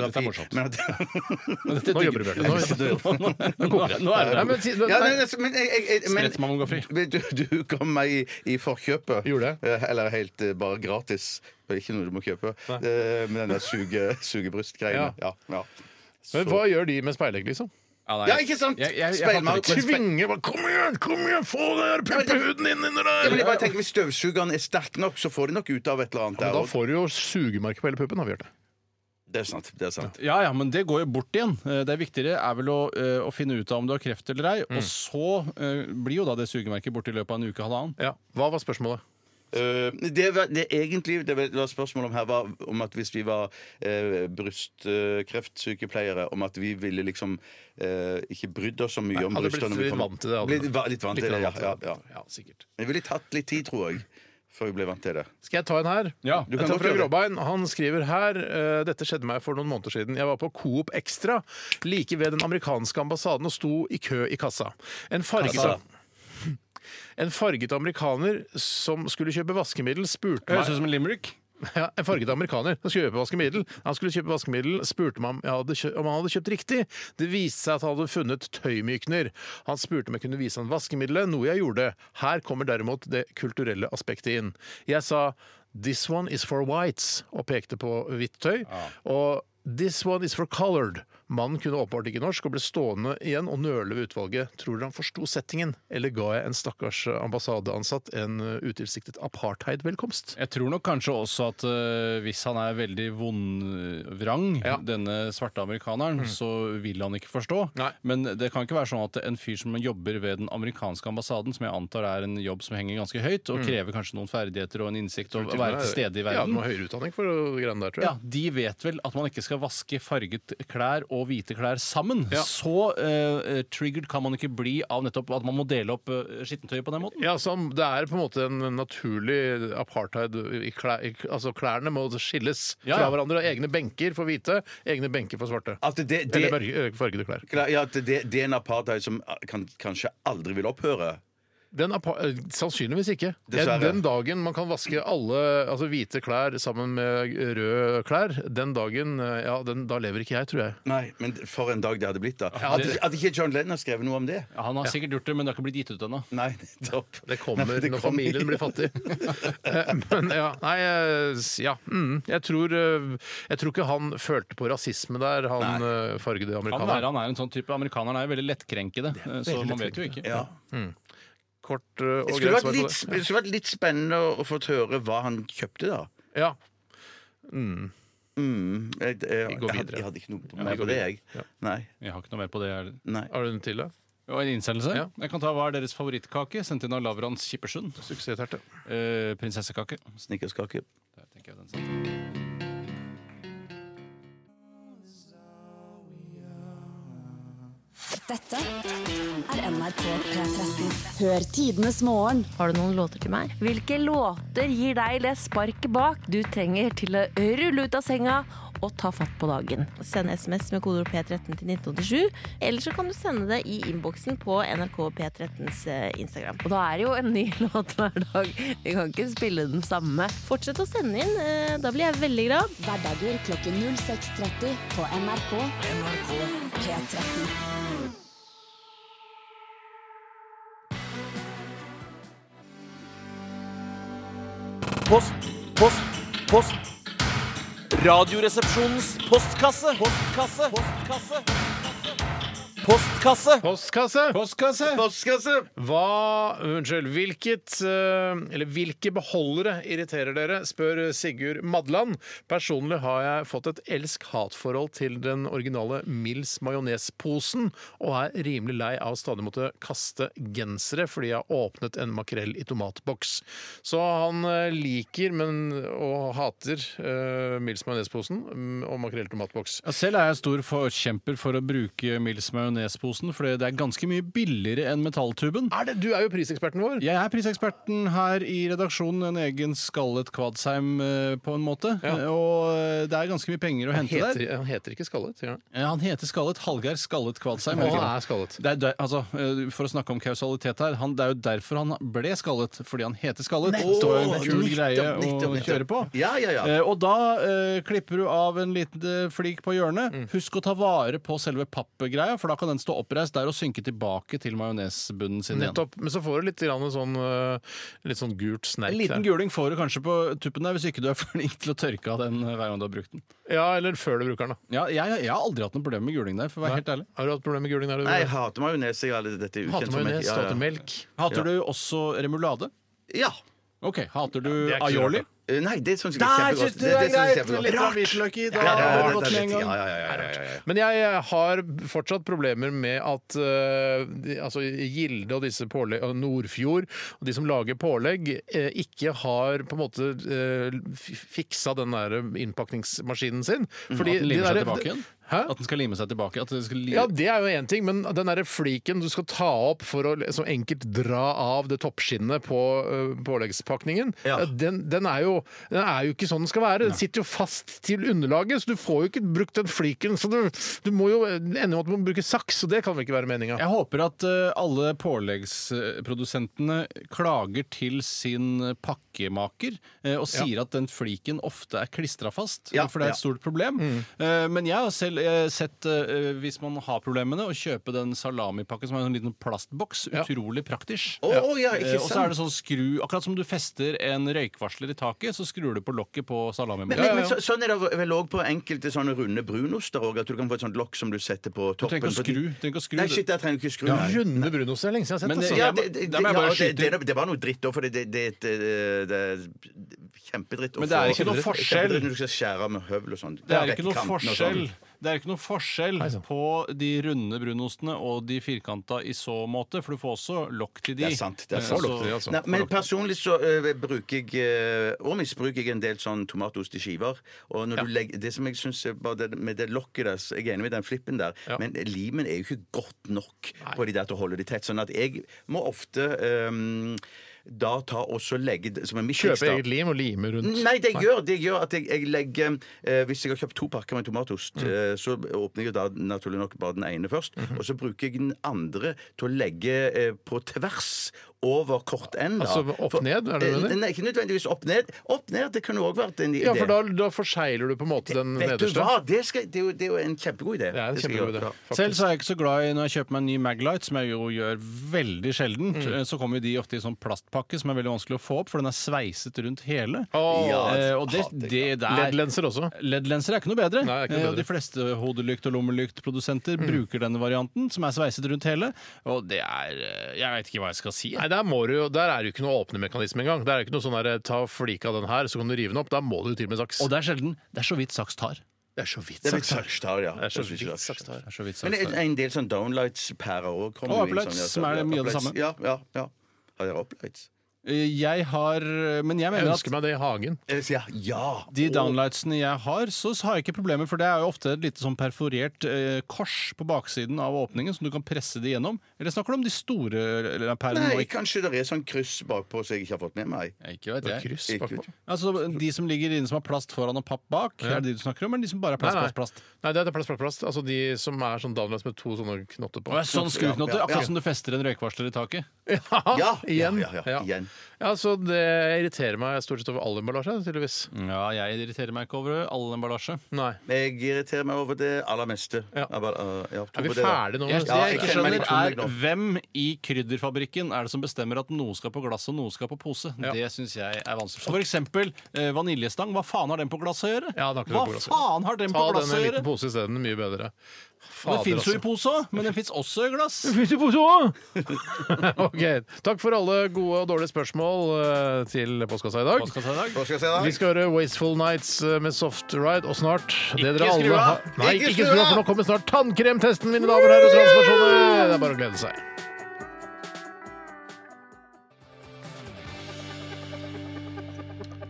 Dette er- dette er morsomt. Men at- Nå jobber du, Bjarte. Nå er det Nei, men si- Ja, nei, nei, altså, men jeg, jeg, jeg, men- Spredt mammografi. Men Du, du kom meg i, i forkjøpet. Gjorde jeg? Eh, Eller helt eh, bare gratis. Det er Ikke noe du må kjøpe. Eh, Med den der suge, sugebrystgreiene. Ja. Ja, Men hva gjør de med speilegg, liksom? ja, ikke sant? Jeg- jeg- jeg Speilmark. fatter Speil- Tvinge bare, Kom igjen, kom igjen, få den der puppehuden inn under Ja, der! men jeg bare tenker, Hvis støvsugeren er sterk nok, så får de nok ut av et eller annet. Men der da også. får du jo sugemerke på hele puppen, da, Bjarte. Det er sant. det er sant Ja, ja, men det går jo bort igjen. Eh, Det er viktigere er vel å, eh, å finne ut av om du har kreft eller ei, og så eh, blir jo da det sugemerket borte i løpet av en uke halvannen. Ja. Hva var spørsmålet? Eh, det, var, det egentlig det var spørsmålet om her var om at hvis vi var eh, brystkreftssykepleiere, om at vi ville liksom eh, ikke brydd oss så mye om hadde blitt brystene. når vi litt kom- vant til det, hadde Blitt du. va- litt vant til det, ja, ja, ja. ja, sikkert. Det ville tatt litt tid, tror jeg, før vi ble vant til det. Skal jeg ta en her? Ja, du kan jeg tar godt fra gjøre det. Gråbein. Han skriver her eh, Dette skjedde meg for noen måneder siden. Jeg var på Coop Extra like ved den amerikanske ambassaden og sto i kø i kassa. En fargete en farget amerikaner som skulle kjøpe vaskemiddel, spurte meg Høres ut som en limerick. ja, En farget amerikaner som skulle kjøpe vaskemiddel. Han skulle kjøpe vaskemiddel, spurte meg om, jeg hadde kjø om han hadde kjøpt riktig. Det viste seg at han hadde funnet tøymykner. Han spurte om jeg kunne vise han vaskemiddelet, noe jeg gjorde. Her kommer derimot det kulturelle aspektet inn. Jeg sa 'This one is for whites' og pekte på hvitt tøy. Og 'This one is for colored'. Mannen kunne åpenbart ikke norsk og ble stående igjen og nøle ved utvalget. Tror dere han forsto settingen, eller ga jeg en stakkars ambassadeansatt en uh, utilsiktet apartheid-velkomst? Jeg tror nok kanskje også at eh, hvis han er veldig vondvrang, Ja. Mm. denne svarte amerikaneren, så vil han ikke forstå. Nei. Men det kan ikke være sånn at en fyr som jobber ved den amerikanske ambassaden, som jeg antar er en jobb som henger ganske høyt, Mm. og krever kanskje noen ferdigheter og en innsikt og å være til stede i Ja, du verden må ha høyere utdanning for de greiene der, tror Ja, jeg. De vet vel at man ikke skal vaske farget klær og hvite klær sammen. Ja. Så eh, triggered kan man ikke bli av nettopp at man må dele opp eh, skittentøyet på den måten. Ja, så Det er på en måte en naturlig apartheid i klær, i, Altså, klærne må skilles Ja, fra ja. hverandre. Egne benker for hvite, egne benker for svarte. At det, det, Eller mørke- fargede klær. ja, at det, det er en apartheid som kan, kanskje aldri vil opphøre. Den er pa eh, sannsynligvis ikke. Dessverre. Den dagen man kan vaske alle altså hvite klær sammen med røde klær, den dagen eh, ja, den, Da lever ikke jeg, tror jeg. Nei, men for en dag det hadde blitt, da. Hadde, hadde ikke John Lennon skrevet noe om det? Ja, han har sikkert gjort det, men det har ikke blitt gitt ut ennå. Nei, nettopp. Det kommer Nei, det når kommer. familien blir fattig. Eh, Men ja, nei eh, s- Ja. Mm, jeg, tror, eh, jeg tror ikke han følte på rasisme der, han eh, fargede Han er, amerikaneren. han er en sånn type Amerikanerne er jo veldig lettkrenkede, eh, så man vet jo ikke. Ja. Kort eh, Det og skulle greit svar vært, på litt, det. det skulle vært litt spennende å få høre hva han kjøpte, da. Ja. Mm. Jeg, jeg, Vi jeg, går hadde, videre. jeg hadde ikke noe vi mer går på det, jeg. Nei. Jeg har ikke noe mer på det. jeg- Nei. Har du en til, da? Og en innsendelse. Ja. Jeg kan ta Hva er deres favorittkake? Sendt inn av Lavrans Kippersund. Suksessterte. Eh, prinsessekake. Snickerskake. Der tenker jeg den satt. Dette er NRK P13. Hør tidenes morgen Har du noen låter til meg? Hvilke låter gir deg det sparket bak du trenger til å rulle ut av senga og ta fatt på dagen? Send SMS med kodeord P13 til 1987. Eller så kan du sende det i innboksen på NRK P13s eh, Instagram. Og da er det jo en ny låt hver dag. Vi kan ikke spille den samme. Fortsett å sende inn, eh, da blir jeg veldig glad. hverdager klokken 06.30 på NRK P13. Post, post, post. Radioresepsjonens postkasse. Postkasse. Postkasse. Postkasse. Postkasse! Postkasse! Postkasse! Hva Unnskyld. Hvilket eh, Eller hvilke beholdere irriterer dere? spør Sigurd Madland. Personlig har jeg fått et elsk-hat-forhold til den originale Mills majonesposen, og er rimelig lei av å stadig måtte kaste gensere fordi jeg har åpnet en makrell i tomatboks. Så han eh, liker, men og hater eh, Mills majonesposen mm, og makrell i tomatboks. Ja, selv er jeg stor forkjemper for å bruke Mills majonesposen, for det er ganske mye billigere enn metalltuben. Er det, du er jo priseksperten vår. Jeg er priseksperten her i redaksjonen, en egen skallet kvadsheim eh, på en måte. Eh, Og eh, det er ganske mye penger å hente Heter, der. han heter ikke Skallet? gjør han? Eh, Han heter Skallet Hallgeir Skallet Kvadsheim. Han heter er skallet. Det er der, altså, eh, for å snakke om kausalitet her, han, det er jo derfor han ble skallet. Fordi han heter Skallet. Det var jo en kul Nettopp, greie nettopp, å nettopp. kjøre på. Ja, ja, ja. Eh, og da eh, klipper du av en liten eh, flik på hjørnet. Mm. Husk å ta vare på selve pappgreia, for da kan den stå oppreist der og synke tilbake til majonesbunnen sin igjen. Nettopp. Men så får du litt, grann en sånn, eh, litt sånn gult snerk En liten der. guling får du kanskje på tuppen der hvis ikke du er flink til å tørke av den eh, hver gang du har brukt den. Ja, eller før du bruker den. da. Ja, jeg, jeg har aldri hatt noe problem med guling der, for å være helt ærlig. Har du hatt problemer med guling der? Nei, jeg hater majones. jeg er alle- Dette er ukjent Hater for meg. majones, Ja, ja. hater melk. Hater du også remulade? Ja. Ok, Hater du det er ikke så aioli? rart, Eh, Nei, det syns jeg er Der kjempegodt. syns du Det- det er det synes jeg greit! er kjempegodt. Litt av Rart. hvitløk i. Da Ja, ja, har det ja, det gått er med litt- en ja, gang. ja, ja, ja, ja, ja. Men jeg eh, har fortsatt problemer med at eh, de- altså, Gilde og disse pålegg, og Nordfjord og de som lager pålegg, eh, ikke har på en måte eh, f- fiksa den der innpakningsmaskinen sin. Fordi Mm, At den limer de seg der- tilbake igjen? Hæ? At den skal lime seg tilbake? At det skal li Ja, det er jo én ting, men den derre fliken du skal ta opp for å så enkelt dra av det toppskinnet på ø, påleggspakningen, Ja. eh, den, den, er jo, den er jo ikke sånn den skal være. Den sitter jo fast til underlaget, så du får jo ikke brukt den fliken. Så du, du må jo ende med at du må bruke saks, og det kan vel ikke være meninga. Jeg håper at eh, alle påleggsprodusentene klager til sin pakkemaker eh, og sier at den fliken ofte er klistra fast, Ja, for det er ja. Mm. et stort problem. Eh, men jeg har selv eh, sett, eh, hvis man har problemene, å kjøpe den salamipakken som er en sånn liten plastboks. Utrolig praktisk. Å, å, Eh, ja, ikke og så er sant. det sånn skru Akkurat som du fester en røykvarsler i taket, så skrur du på lokket på Men, salamimaken. men, men så, sånn er det vel òg på enkelte sånne runde brunoster òg, at du kan få et sånt lokk som du setter på Du toppen. trenger ikke å på- skru. Du trenger ikke å skru. Nei, shit, jeg trenger ikke skru. nei. Runde brunost er lenge siden jeg har sett. Men det- altså. eh, Ja, Jeg må- det, det, der må jeg ja, bare det, skyte det, inn. det var noe dritt òg, for det, det, det, det, det er kjempedritt. å Men det er få- ikke noe kjempedritt forskjell. Når du skal skjære av med høvel og sånn. Det er Vekk ikke noe kanten og sånn. forskjell. Det er ikke noe forskjell sann. på de runde brunostene og de firkanta i så måte, for du får også lokk til de. Det er sant, det er Eh, sant. så- Lokk til de, altså. Nei, men personlig så ø, bruker jeg ø, Og misbruker jeg en del sånn tomatost i skiver. Og når du legger, det som jeg synes er bare det, Med det lokket der så Jeg er enig med den flippen der, men limen er jo ikke godt nok på de der til å holde de tett. Sånn at jeg må ofte ø, da ta og så legge det- som en Kjøpe mikseks, da. Mm, eget lim og lime rundt. Nei, det gjør, det gjør at jeg, jeg legger eh, Hvis jeg har kjøpt to pakker med tomatost, Mm. eh, så åpner jeg da Mhm. naturlig nok bare den ene først. Og så bruker jeg den andre til å legge eh, på tvers over kort N. da. Altså, opp For- ned, er det det du Eh, mener? Nei, ikke nødvendigvis opp ned. Opp ned, det kunne òg vært en idé. Ja, for da, da forsegler du på en måte den Vet du nederste. hva, det, skal, det, er jo, det er jo en kjempegod idé. Det er en skal jeg kjempegod gjøre. idé. Selv så er jeg ikke så glad i når jeg kjøper meg en ny Maglite, som jeg jo gjør veldig sjeldent. eh, Så kommer jo de ofte i sånn plastpakke som er veldig vanskelig å få opp, for den er sveiset rundt hele. Ja, Eh, og det, det der LED-lenser også. LED-lenser er ikke noe bedre. Nei, det er ikke noe Eh, bedre. og De fleste hodelykt- og lommelyktprodusenter bruker denne varianten, som er sveiset rundt hele. Og det er eh, Jeg veit ikke hva jeg skal si. Nei, der, må du, jo- der er det jo ikke noe åpne mekanisme engang. Der er det ikke noe sånn der, ta flika av den her, så kan du rive den opp. Der må du jo til og med saks. Og det er sjelden. Det er så vidt saks tar. Det er så vidt Det er litt saks. sakstar, ja. Det er så Det er vidt litt saks. Det er så vidt Men saks en, tar. en del sånn downlights-pærer òg kommer Og jo inn uplights, sånn, ja, som er mye ja, av det uplights. samme. Ja, ja, ja. Har dere uplights? Eh, Jeg har eh, Men jeg Jeg mener at ønsker meg det i hagen. Jeg sier ja. de downlightsene jeg har, så har jeg ikke problemer, for det er jo ofte et lite sånn perforert eh, kors på baksiden av åpningen som du kan presse det gjennom. Eller snakker du om de store eller perlene? Nei, og ikke- kanskje det er sånn kryss bakpå som jeg ikke har fått med meg. Ikke vet jeg. Kryss Ikke bakpå. ut. Altså, de som ligger inne som har plast foran og papp bak, er det de du snakker om, eller de som bare er plast, Nei, nei. plast, plast? Nei, det er plast, plast, plast. Altså de som er sånn downlights med to sånne knotter på. Å, ja, sånn skruknotter, Ja, ja, akkurat ja. som du fester en røykvarsler i taket. Ja, Ja, Ah, igjen. ja, ja, ja, igjen. Ja, så det irriterer meg stort sett over all emballasje, tydeligvis. Ja, jeg irriterer meg ikke over all emballasje. Nei. Jeg irriterer meg over det aller meste. Ja. Jeg bare, uh, ja, tror Er vi på det, da. ferdige nå? Jeg, det Ja, jeg ikke jeg kjenner meg skjønner, litt tom er nå. hvem i krydderfabrikken er det som bestemmer at noe skal på glass og noe skal på pose. Ja. Det syns jeg er vanskelig. For eksempel eh, vaniljestang. Hva faen har den på glass å gjøre? Ja, den har ikke Hva det på glass å gjøre. faen har den Ta på den glass i å en gjøre? liten pose isteden. Mye bedre. Den fins jo i altså. pose òg, men den fins også i glass. Ok, Takk for alle gode og dårlige spørsmål eh, til postkassa i dag. Postkassa i dag. Hva skal jeg si da? Vi skal høre Wasteful Nights eh, med Soft Ride, og snart det dere skru alle av! har- Nei, Ikke ikke, skru skru av, av! for nå kommer snart tannkremtesten, mine damer og herrer og transpersoner! Det er bare å glede seg.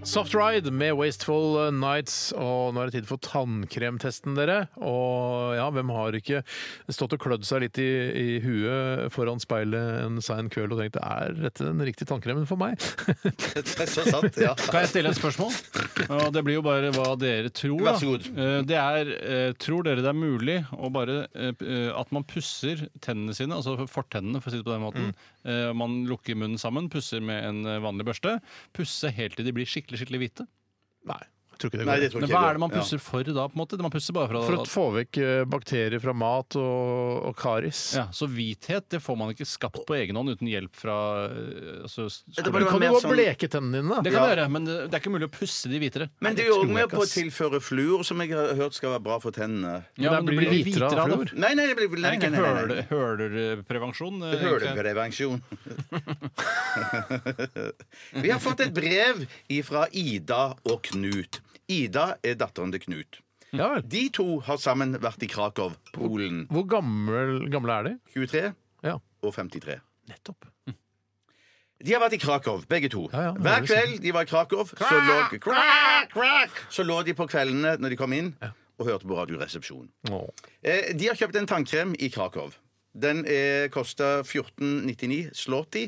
Soft Ride med Wasteful Nights, og nå er det tid for tannkremtesten, dere. Og ja, hvem har ikke stått og klødd seg litt i, i huet foran speilet en sein kveld og tenkt er dette den riktige tannkremen for meg? Det er så sant, ja. Kan jeg stille et spørsmål? Og det blir jo bare hva dere tror. Vær så god. Eh, Det er, eh, tror dere det er mulig å bare eh, p- eh, at man pusser tennene sine, altså fortennene, for å si det på den måten. Mm. Eh, Man lukker munnen sammen, pusser med en eh, vanlig børste. Pusse helt til de blir skikkelig skikkelig hvite. Nei, jeg tror ikke det går. Nei, det tror Men ikke hva jeg er det man går. pusser for da? på en måte? Man pusser bare for, For å at få vekk eh, bakterier fra mat og, og karis. ja, Så hvithet det får man ikke skapt på egen hånd uten hjelp fra eh, altså, Ja. Det Du burde være kan mer jo sånn- bleke tennene dine. Det da. kan vi gjøre, men det det er ikke mulig å pusse de hvitere. Men det er jo tror også jeg med ikke, på å ass. tilføre fluor, som jeg har hørt skal være bra for tennene. Men Ja, men det blir hvitere av fluor. det. Nei, nei, det blir Det nei, er nei, ikke nei, nei, nei. høler- hølerprevensjon. eh, egentlig. Høleprevensjon. Vi har fått et brev fra Ida og Knut. Ida er datteren til Knut. Ja vel. De to har sammen vært i Krakow, Polen. Hvor gammel, gamle er de? 23 Ja. og 53. Nettopp. De har vært i Krakow, begge to. Ja, ja, det Hver er det kveld de var i Krakow, så lå, Krak, krak! så lå de på kveldene når de kom inn, og hørte på Radioresepsjonen. Eh, de har kjøpt en tannkrem i Krakow. Den eh, kosta 14,99 Slåti.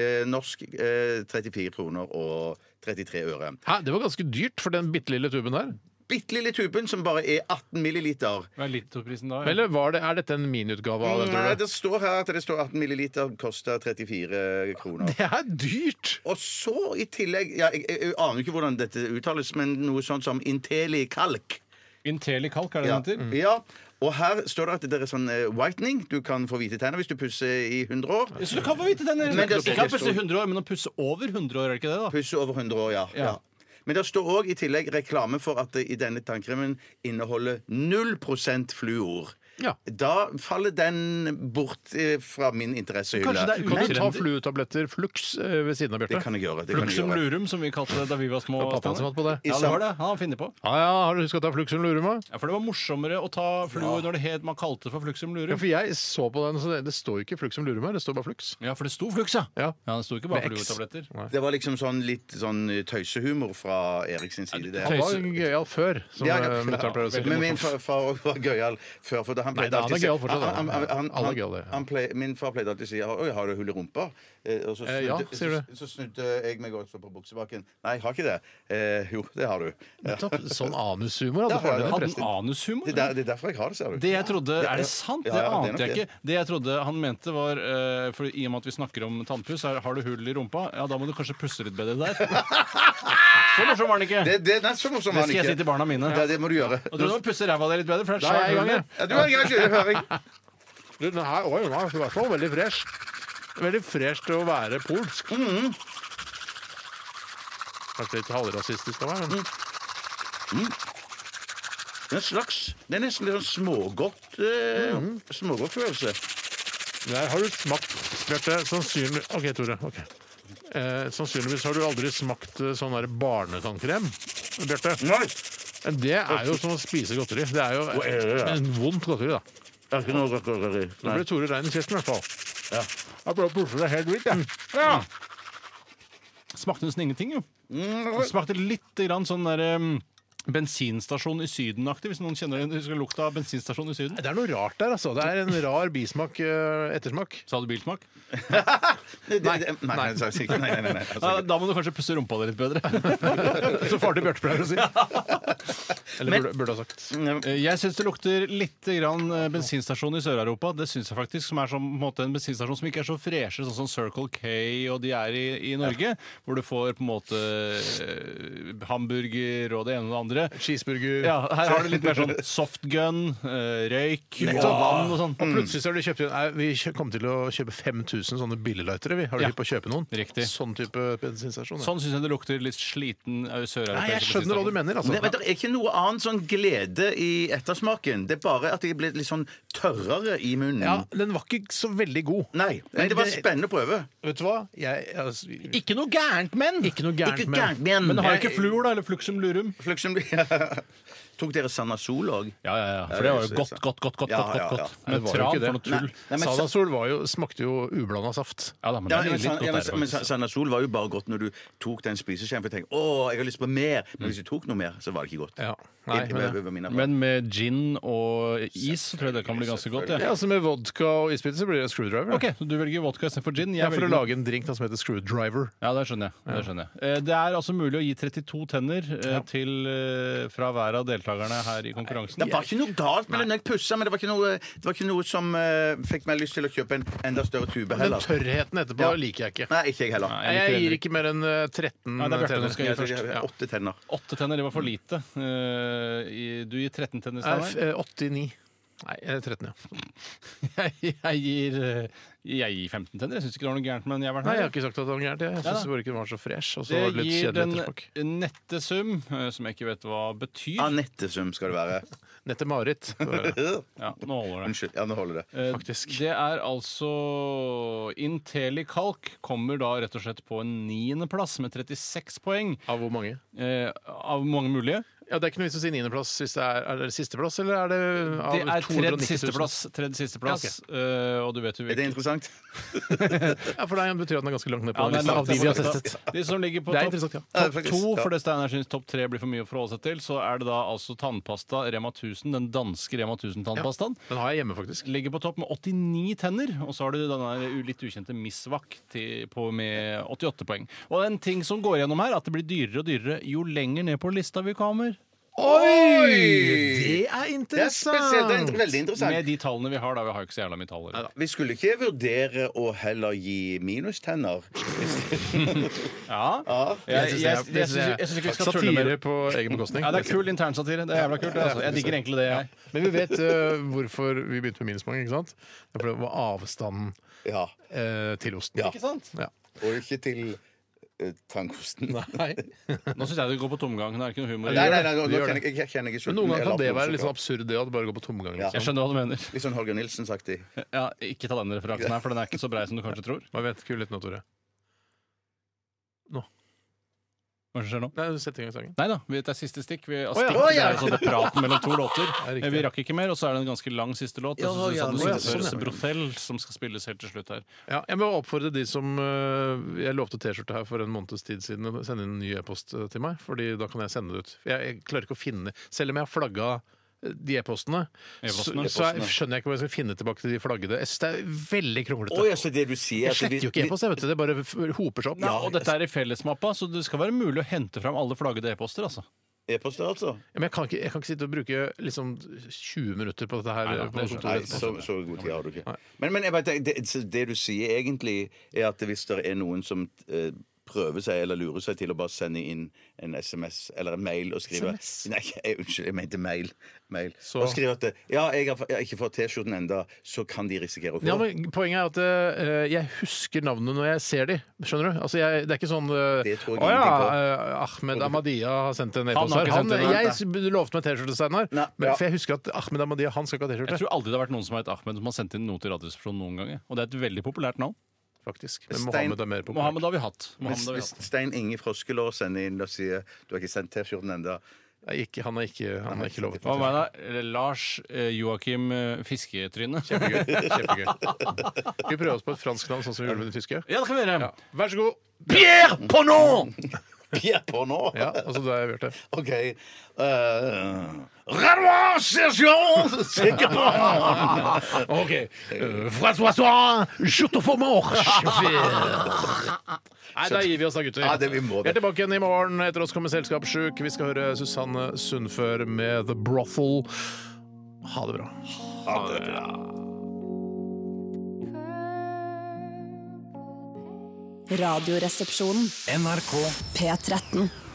Eh, norsk eh, 34 kroner og 33 øre. Hæ, det var ganske dyrt for den bitte lille tuben der. Bitte lille tuben som bare er 18 milliliter. Hva er Litoprisen da? Eller var det, er dette en miniutgave av den, Nei, tror du? Eh, det står her at det står 18 milliliter koster 34 kroner. Det er dyrt! Og så i tillegg ja, jeg, jeg, jeg aner ikke hvordan dette uttales, men noe sånt som Inteli kalk. Inteli kalk, er det Ja. den heter? ja. Og her står det at det er sånn eh, whitening. Du kan få hvite tenner hvis du pusser i 100 år. Så du kan få vite den Men det Ikke står- kan pusse 100 år, men å pusse over 100 år, er det ikke det? da? Pusse over 100 år, ja. ja. Men det står òg i tillegg reklame for at det i denne tannkremen inneholder 0 fluor. Ja. Da faller den bort eh, fra min interessehylle. Kanskje det er Kan du Trendy. ta fluetabletter flux eh, ved siden av Det Bjarte? kan jeg gjøre. Det kan jeg Fluxum gjøre. lurum, som vi kalte det da vi var små. Det var pappaen som Steinar. hadde på det. Ja, det var det. Han finner på. Ja, ja, har du huska å ta fluxum luruma? Ja, For det var morsommere å ta fluor når det het man kalte det for fluxum Ja, lurum. for jeg så på den, så det, det står jo ikke fluxum lurum her, det står bare flux. Ja, for det sto flux, ja. Ja. Ja, Det sto ikke bare Med X. fluortabletter. Det var liksom sånn litt sånn tøysehumor fra Erik sin side. Det. Han var gøyal før, som Ja, ja, ja. eh, mutter'n pleier å si. Men min far, far var gøyal før, for da han Nei, pleide da, han er alltid å si- gøyal fortsatt, da. han- han- Han han- er han- gøyal, ja. han plei- Min far pleide alltid å si Oi, har du hull i rumpa? Eh, Og så Eh, ja, snudde, sier så, så snudde jeg meg også på buksebaken. Nei, har ikke det. Eh, jo, det har du. Ja. Nettopp. Sånn anushumor hadde Ja, faren din. ja, ja. forresten. Anushumor? Det, er der, det er derfor jeg har det, ser du. Det jeg trodde, Ja, Er ja. det sant? Ja, Det ja, er ante jeg nok ikke. Det jeg trodde han mente var eh, For I og med at vi snakker om tannpuss, er, har du hull i rumpa? Ja, da må du kanskje pusse litt bedre der. Så morsom var den ikke! Det, det, nei, så morsom Det var han skal jeg ikke. si til barna mine. Ja, det må du gjøre. Og du må pusse ræva di litt bedre, for det Da er er jeg i gang svært hull igjen. der. Ja, du har en gang til høring. Du, den her, oi, den her var så veldig fresh. Veldig fresh til å være polsk. Kanskje litt halvrasistisk av meg, men Det er en slags Det er nesten litt sånn smågodt eh, Smågodt følelse. der har du smakt Bjarte, sannsynlig... OK, Tore. ok. Eh, sannsynligvis har du aldri smakt eh, sånn der barnetannkrem. Bjarte, Nei! Men det er jo som å spise godteri. Det er jo ja, ja. men vondt godteri, da. Det er ikke noe godt godteri. Da Nei. ble Tore rein i kjeften, i hvert fall. Ja. Jeg prøver å puffe deg helt vilt, jeg. Smakte nesten ingenting, jo. Det smakte litt grann sånn der em, bensinstasjon i Syden-aktig, hvis noen kjenner den, husker lukta av bensinstasjon i Syden. Det er noe rart der, altså. Det er en rar bismak, eh, ettersmak. Sa du bilsmak? Nei, det- det- nei, nei, jeg sa ikke- nei, nei, nei, nei, jeg sa Ja, ikke. da må du kanskje pusse rumpa di litt bedre. Som far til Bjarte pleier å si. Eller burde, burde ha sagt. Eh, Jeg syns det lukter litt grann eh, bensinstasjon i Sør-Europa. Det synes jeg faktisk, som er som, på en, måte, en bensinstasjon som ikke er så freshe, sånn som Circle K og de er i, i Norge. Hvor du får på en måte eh, hamburger og det ene og det andre. Cheeseburger. Ja, her har du litt mer sånn softgun, eh, røyk og Nettopp. vann og sånn. Og plutselig så har de kjøpt inn Nei, Vi kjø- kom til å kjøpe 5000 sånne billiglightere. Vi har du Ja. lyst på å kjøpe noen? Riktig. Sånn type bensinstasjon. ja. Sånn syns jeg det lukter litt sliten eh, Nei, søreuropeisk. jeg skjønner hva du mener, altså. Nei, men Det er ikke noe annen sånn glede i ettersmaken. Det er bare at jeg ble litt sånn tørrere i munnen. Ja, den var ikke så veldig god. Nei, men det var spennende å prøve. Vet du hva? Jeg, altså, ikke, Ikke noe gærent, men! noe gærent, Ikke men gærent, men Men det har jo ikke fluor, da? Eller fluxum lurum? Fluxum Tok dere Sanasol òg? Ja, ja, ja. For det var jo jeg godt, synes- godt, godt. godt, Ja, godt, godt, ja, ja. godt. Nei, det Men var jo tran, ikke det. for noe tull. Nei, men- Sadasol var jo, smakte jo ublanda saft. Ja da, men det Ja, er men, litt godt San- ja, men, der, men faktisk. San- Sanasol var jo bare godt når du tok den spiseskjeen. For jeg tenkte, å, jeg har lyst på mer. Men hvis du tok noe mer, så var det ikke godt. Ja. Nei, Det- men, det var min erfaring. Men med gin og is så tror jeg det kan bli ganske godt. ja, Ja. altså Med vodka og isbiter så blir det screwdriver. Ok, så Du velger vodka istedenfor gin? Jeg Ja, for å lage velger- en drink da, som heter screwdriver. ja, det skjønner, jeg. det skjønner jeg. Eh, Det er altså mulig å gi 32 tenner eh, til, eh, fra hver av deltakerne her i konkurransen. Det var ikke noe galt med den jeg pussa, men det var ikke noe, det var ikke noe som eh, fikk meg lyst til å kjøpe en enda større tube Den heller. tørrheten etterpå Ja. liker jeg ikke. Nei, ikke jeg heller. Nei, jeg gir ikke mer enn eh, 13 Nei, det er Bjarte tenner. som skal gi Jeg tror først. jeg har Åtte tenner. Åtte tenner, det var for lite. Eh, i- Du gir 13 tenner, Nei, f- Steinar. eh, 89. Nei, eh, 13, ja. Jeg, jeg gir eh, Jeg gir 15 tenner. Jeg syns ikke det var noe gærent, men jeg har vært Nei, jeg her. har ikke sagt at det var gærent. jeg. Jeg Ja, syns da. bare ikke den var så fresh. Og så Det var det litt gir kjedelig den ettersmak. nette sum, eh, som jeg ikke vet hva betyr. Anette Sum Ah, skal det være. Nette-Marit. eh, Ja, nå holder det. Unnskyld. Ja, nå holder det. Eh, Faktisk. Det er altså Intelikalk kommer da rett og slett på en niendeplass med 36 poeng Av hvor mange? eh, av mange mulige. Ja, Det er ikke noe vits å si niendeplass. hvis det Er er det sisteplass, eller er det av Det er 290 tredje 000? sisteplass, tredje sisteplass, eh, og du vet jo Er det hvilken. interessant? Ja, for deg betyr at den er ganske langt ned på Ja, det er lista langt av de ned vi på har lista. testet. De som ligger på Det er topp, interessant, ja. Ja, det er topp faktisk- to, ja. fordi Steinar syns topp tre blir for mye å forholde seg til, så er det da altså tannpasta Rema 1000, den danske Rema 1000-tannpastaen. Den har jeg hjemme, faktisk. Ligger på topp med 89 tenner, og så har du denne litt ukjente Misvak til, på med 88 poeng. Og en ting som går gjennom her, at det blir dyrere og dyrere jo lenger ned på lista vi kommer. Det er Det er spesielt. Det er veldig Med interessant. de tallene vi har, da. Vi har jo ikke så jævla mye tall. eller? Vi skulle ikke vurdere å heller gi minustenner. Ja. Jeg, jeg, jeg, jeg, syns- jeg syns ikke vi skal tulle med Satire det. på egen bekostning. Ja, det er kul internsatire. Det er jævla kult. Altså. Jeg digger egentlig det, jeg. Men vi vet eh, hvorfor vi begynte med minuspoeng. ikke sant? Det er fordi det var avstanden Ja. eh, til osten. Ja. Ikke sant? Ja. Og ikke til eh, tannkosten. Nei, Nei. Nå syns jeg det går på tomgang. Det er ikke noe humor. i nei, det. nei, nå, Du gjør kjenner jeg, jeg kjenner Men ikke sulten. noen Jeg ganger la kan det på være noe litt sånn absurd, sukker. det, at det bare går på tomgang. Ja. Liksom. Jeg skjønner hva du mener. Litt sånn Holger Nilsen-saktig. Ja, ikke ta den referansen her, for den er ikke så brei som du kanskje tror. Bare vent, kul litt nå, Tore. Hva er det som skjer nå? Nei, sett i gang sangen. Nei da, vi- det er siste stikk. Vi har Å ja. stikk Å det ja. er sånn praten mellom to låter. er riktig. Eh, Vi rakk ikke mer, og så er det en ganske lang siste låt. Ja, Jeg synes ja, det er sånn nå er det Søres sånn, ja. Brothel som skal spilles helt til slutt her. Ja, jeg må oppfordre de som øh, Jeg lovte T-skjorte her for en måneds tid siden. å eh, Sende inn en ny e-post øh, til meg, Fordi da kan jeg sende det ut. For Jeg, jeg klarer ikke å finne Selv om jeg har flagga de e-postene, så, E-postene. så jeg skjønner jeg ikke hvor jeg skal finne tilbake til de flaggede S. Det er veldig kronglete. Å, ja, så det du sier jeg at vi- sletter jo ikke e-post, jeg vet du. Det bare f- hoper seg opp. Ja, og dette er i fellesmappa, så det skal være mulig å hente fram alle flaggede e-poster. altså. E-poster, altså? Ja, Men jeg kan, ikke, jeg kan ikke sitte og bruke liksom 20 minutter på dette her. Nei, på kontoret nei, etterpå. så, så god tid har du ikke. Men, men jeg vet, det, det, det du sier egentlig, er at hvis det er noen som eh, prøver seg eller lurer seg til å bare sende inn en SMS eller en mail og skrive SMS? Nei, jeg, unnskyld, jeg mente mail. mail. Så- Og skrive at ja, jeg har, jeg har ikke fått T-skjorten enda, så kan de risikere å få Ja, men Poenget er at eh, jeg husker navnene når jeg ser de, skjønner du? Altså, jeg, det er ikke sånn eh, Det tror jeg Å ja, ingenting eh, Ahmed Ahmadiyya har sendt en Han e-post har her. ikke Han, sendt en, jeg nei. s- lovte meg T-skjorte, Steinar. Nei, men- ja. For jeg husker at Ahmed Ahmadiyya han skal ikke ha Jeg T-skjorte, tror aldri det har vært noen som har hett Ahmed som har sendt inn noe til Radioresepsjonen noen gang. jeg. Og det er et veldig populært navn. faktisk. Men Stein- Mohammed er mer på Mohammed har vi hatt. Hvis, Mohammed har vi hvis hatt. Stein Inge Froskelår sender inn og sier du har ikke sendt T-skjorten enda Nei, ikke- Han er ikke, han er ikke lovet Hva meg. med deg? Lars eh, Joakim eh, Fisketryne. Kjempegøy. Kjempegøy. Skal vi prøve oss på et fransk navn, sånn som vi gjorde med det tyske? Ja, det kan vi gjøre. Ja. Vær så god. Pierre Ponnon! Pierre på nå! Ja, altså da har jeg gjort det. OK. Eh, Uh, Renoir Sergeant Sikkert! OK. Eh, François Soin, chute for mort, Nei, da gir vi oss da, gutter. Ja, det vi må det. Vi er tilbake igjen i morgen. Etter oss kommer Selskapssjuk. Vi skal høre Susanne Sundfør med The Brothel. Ha det bra. Radioresepsjonen. NRK. P13.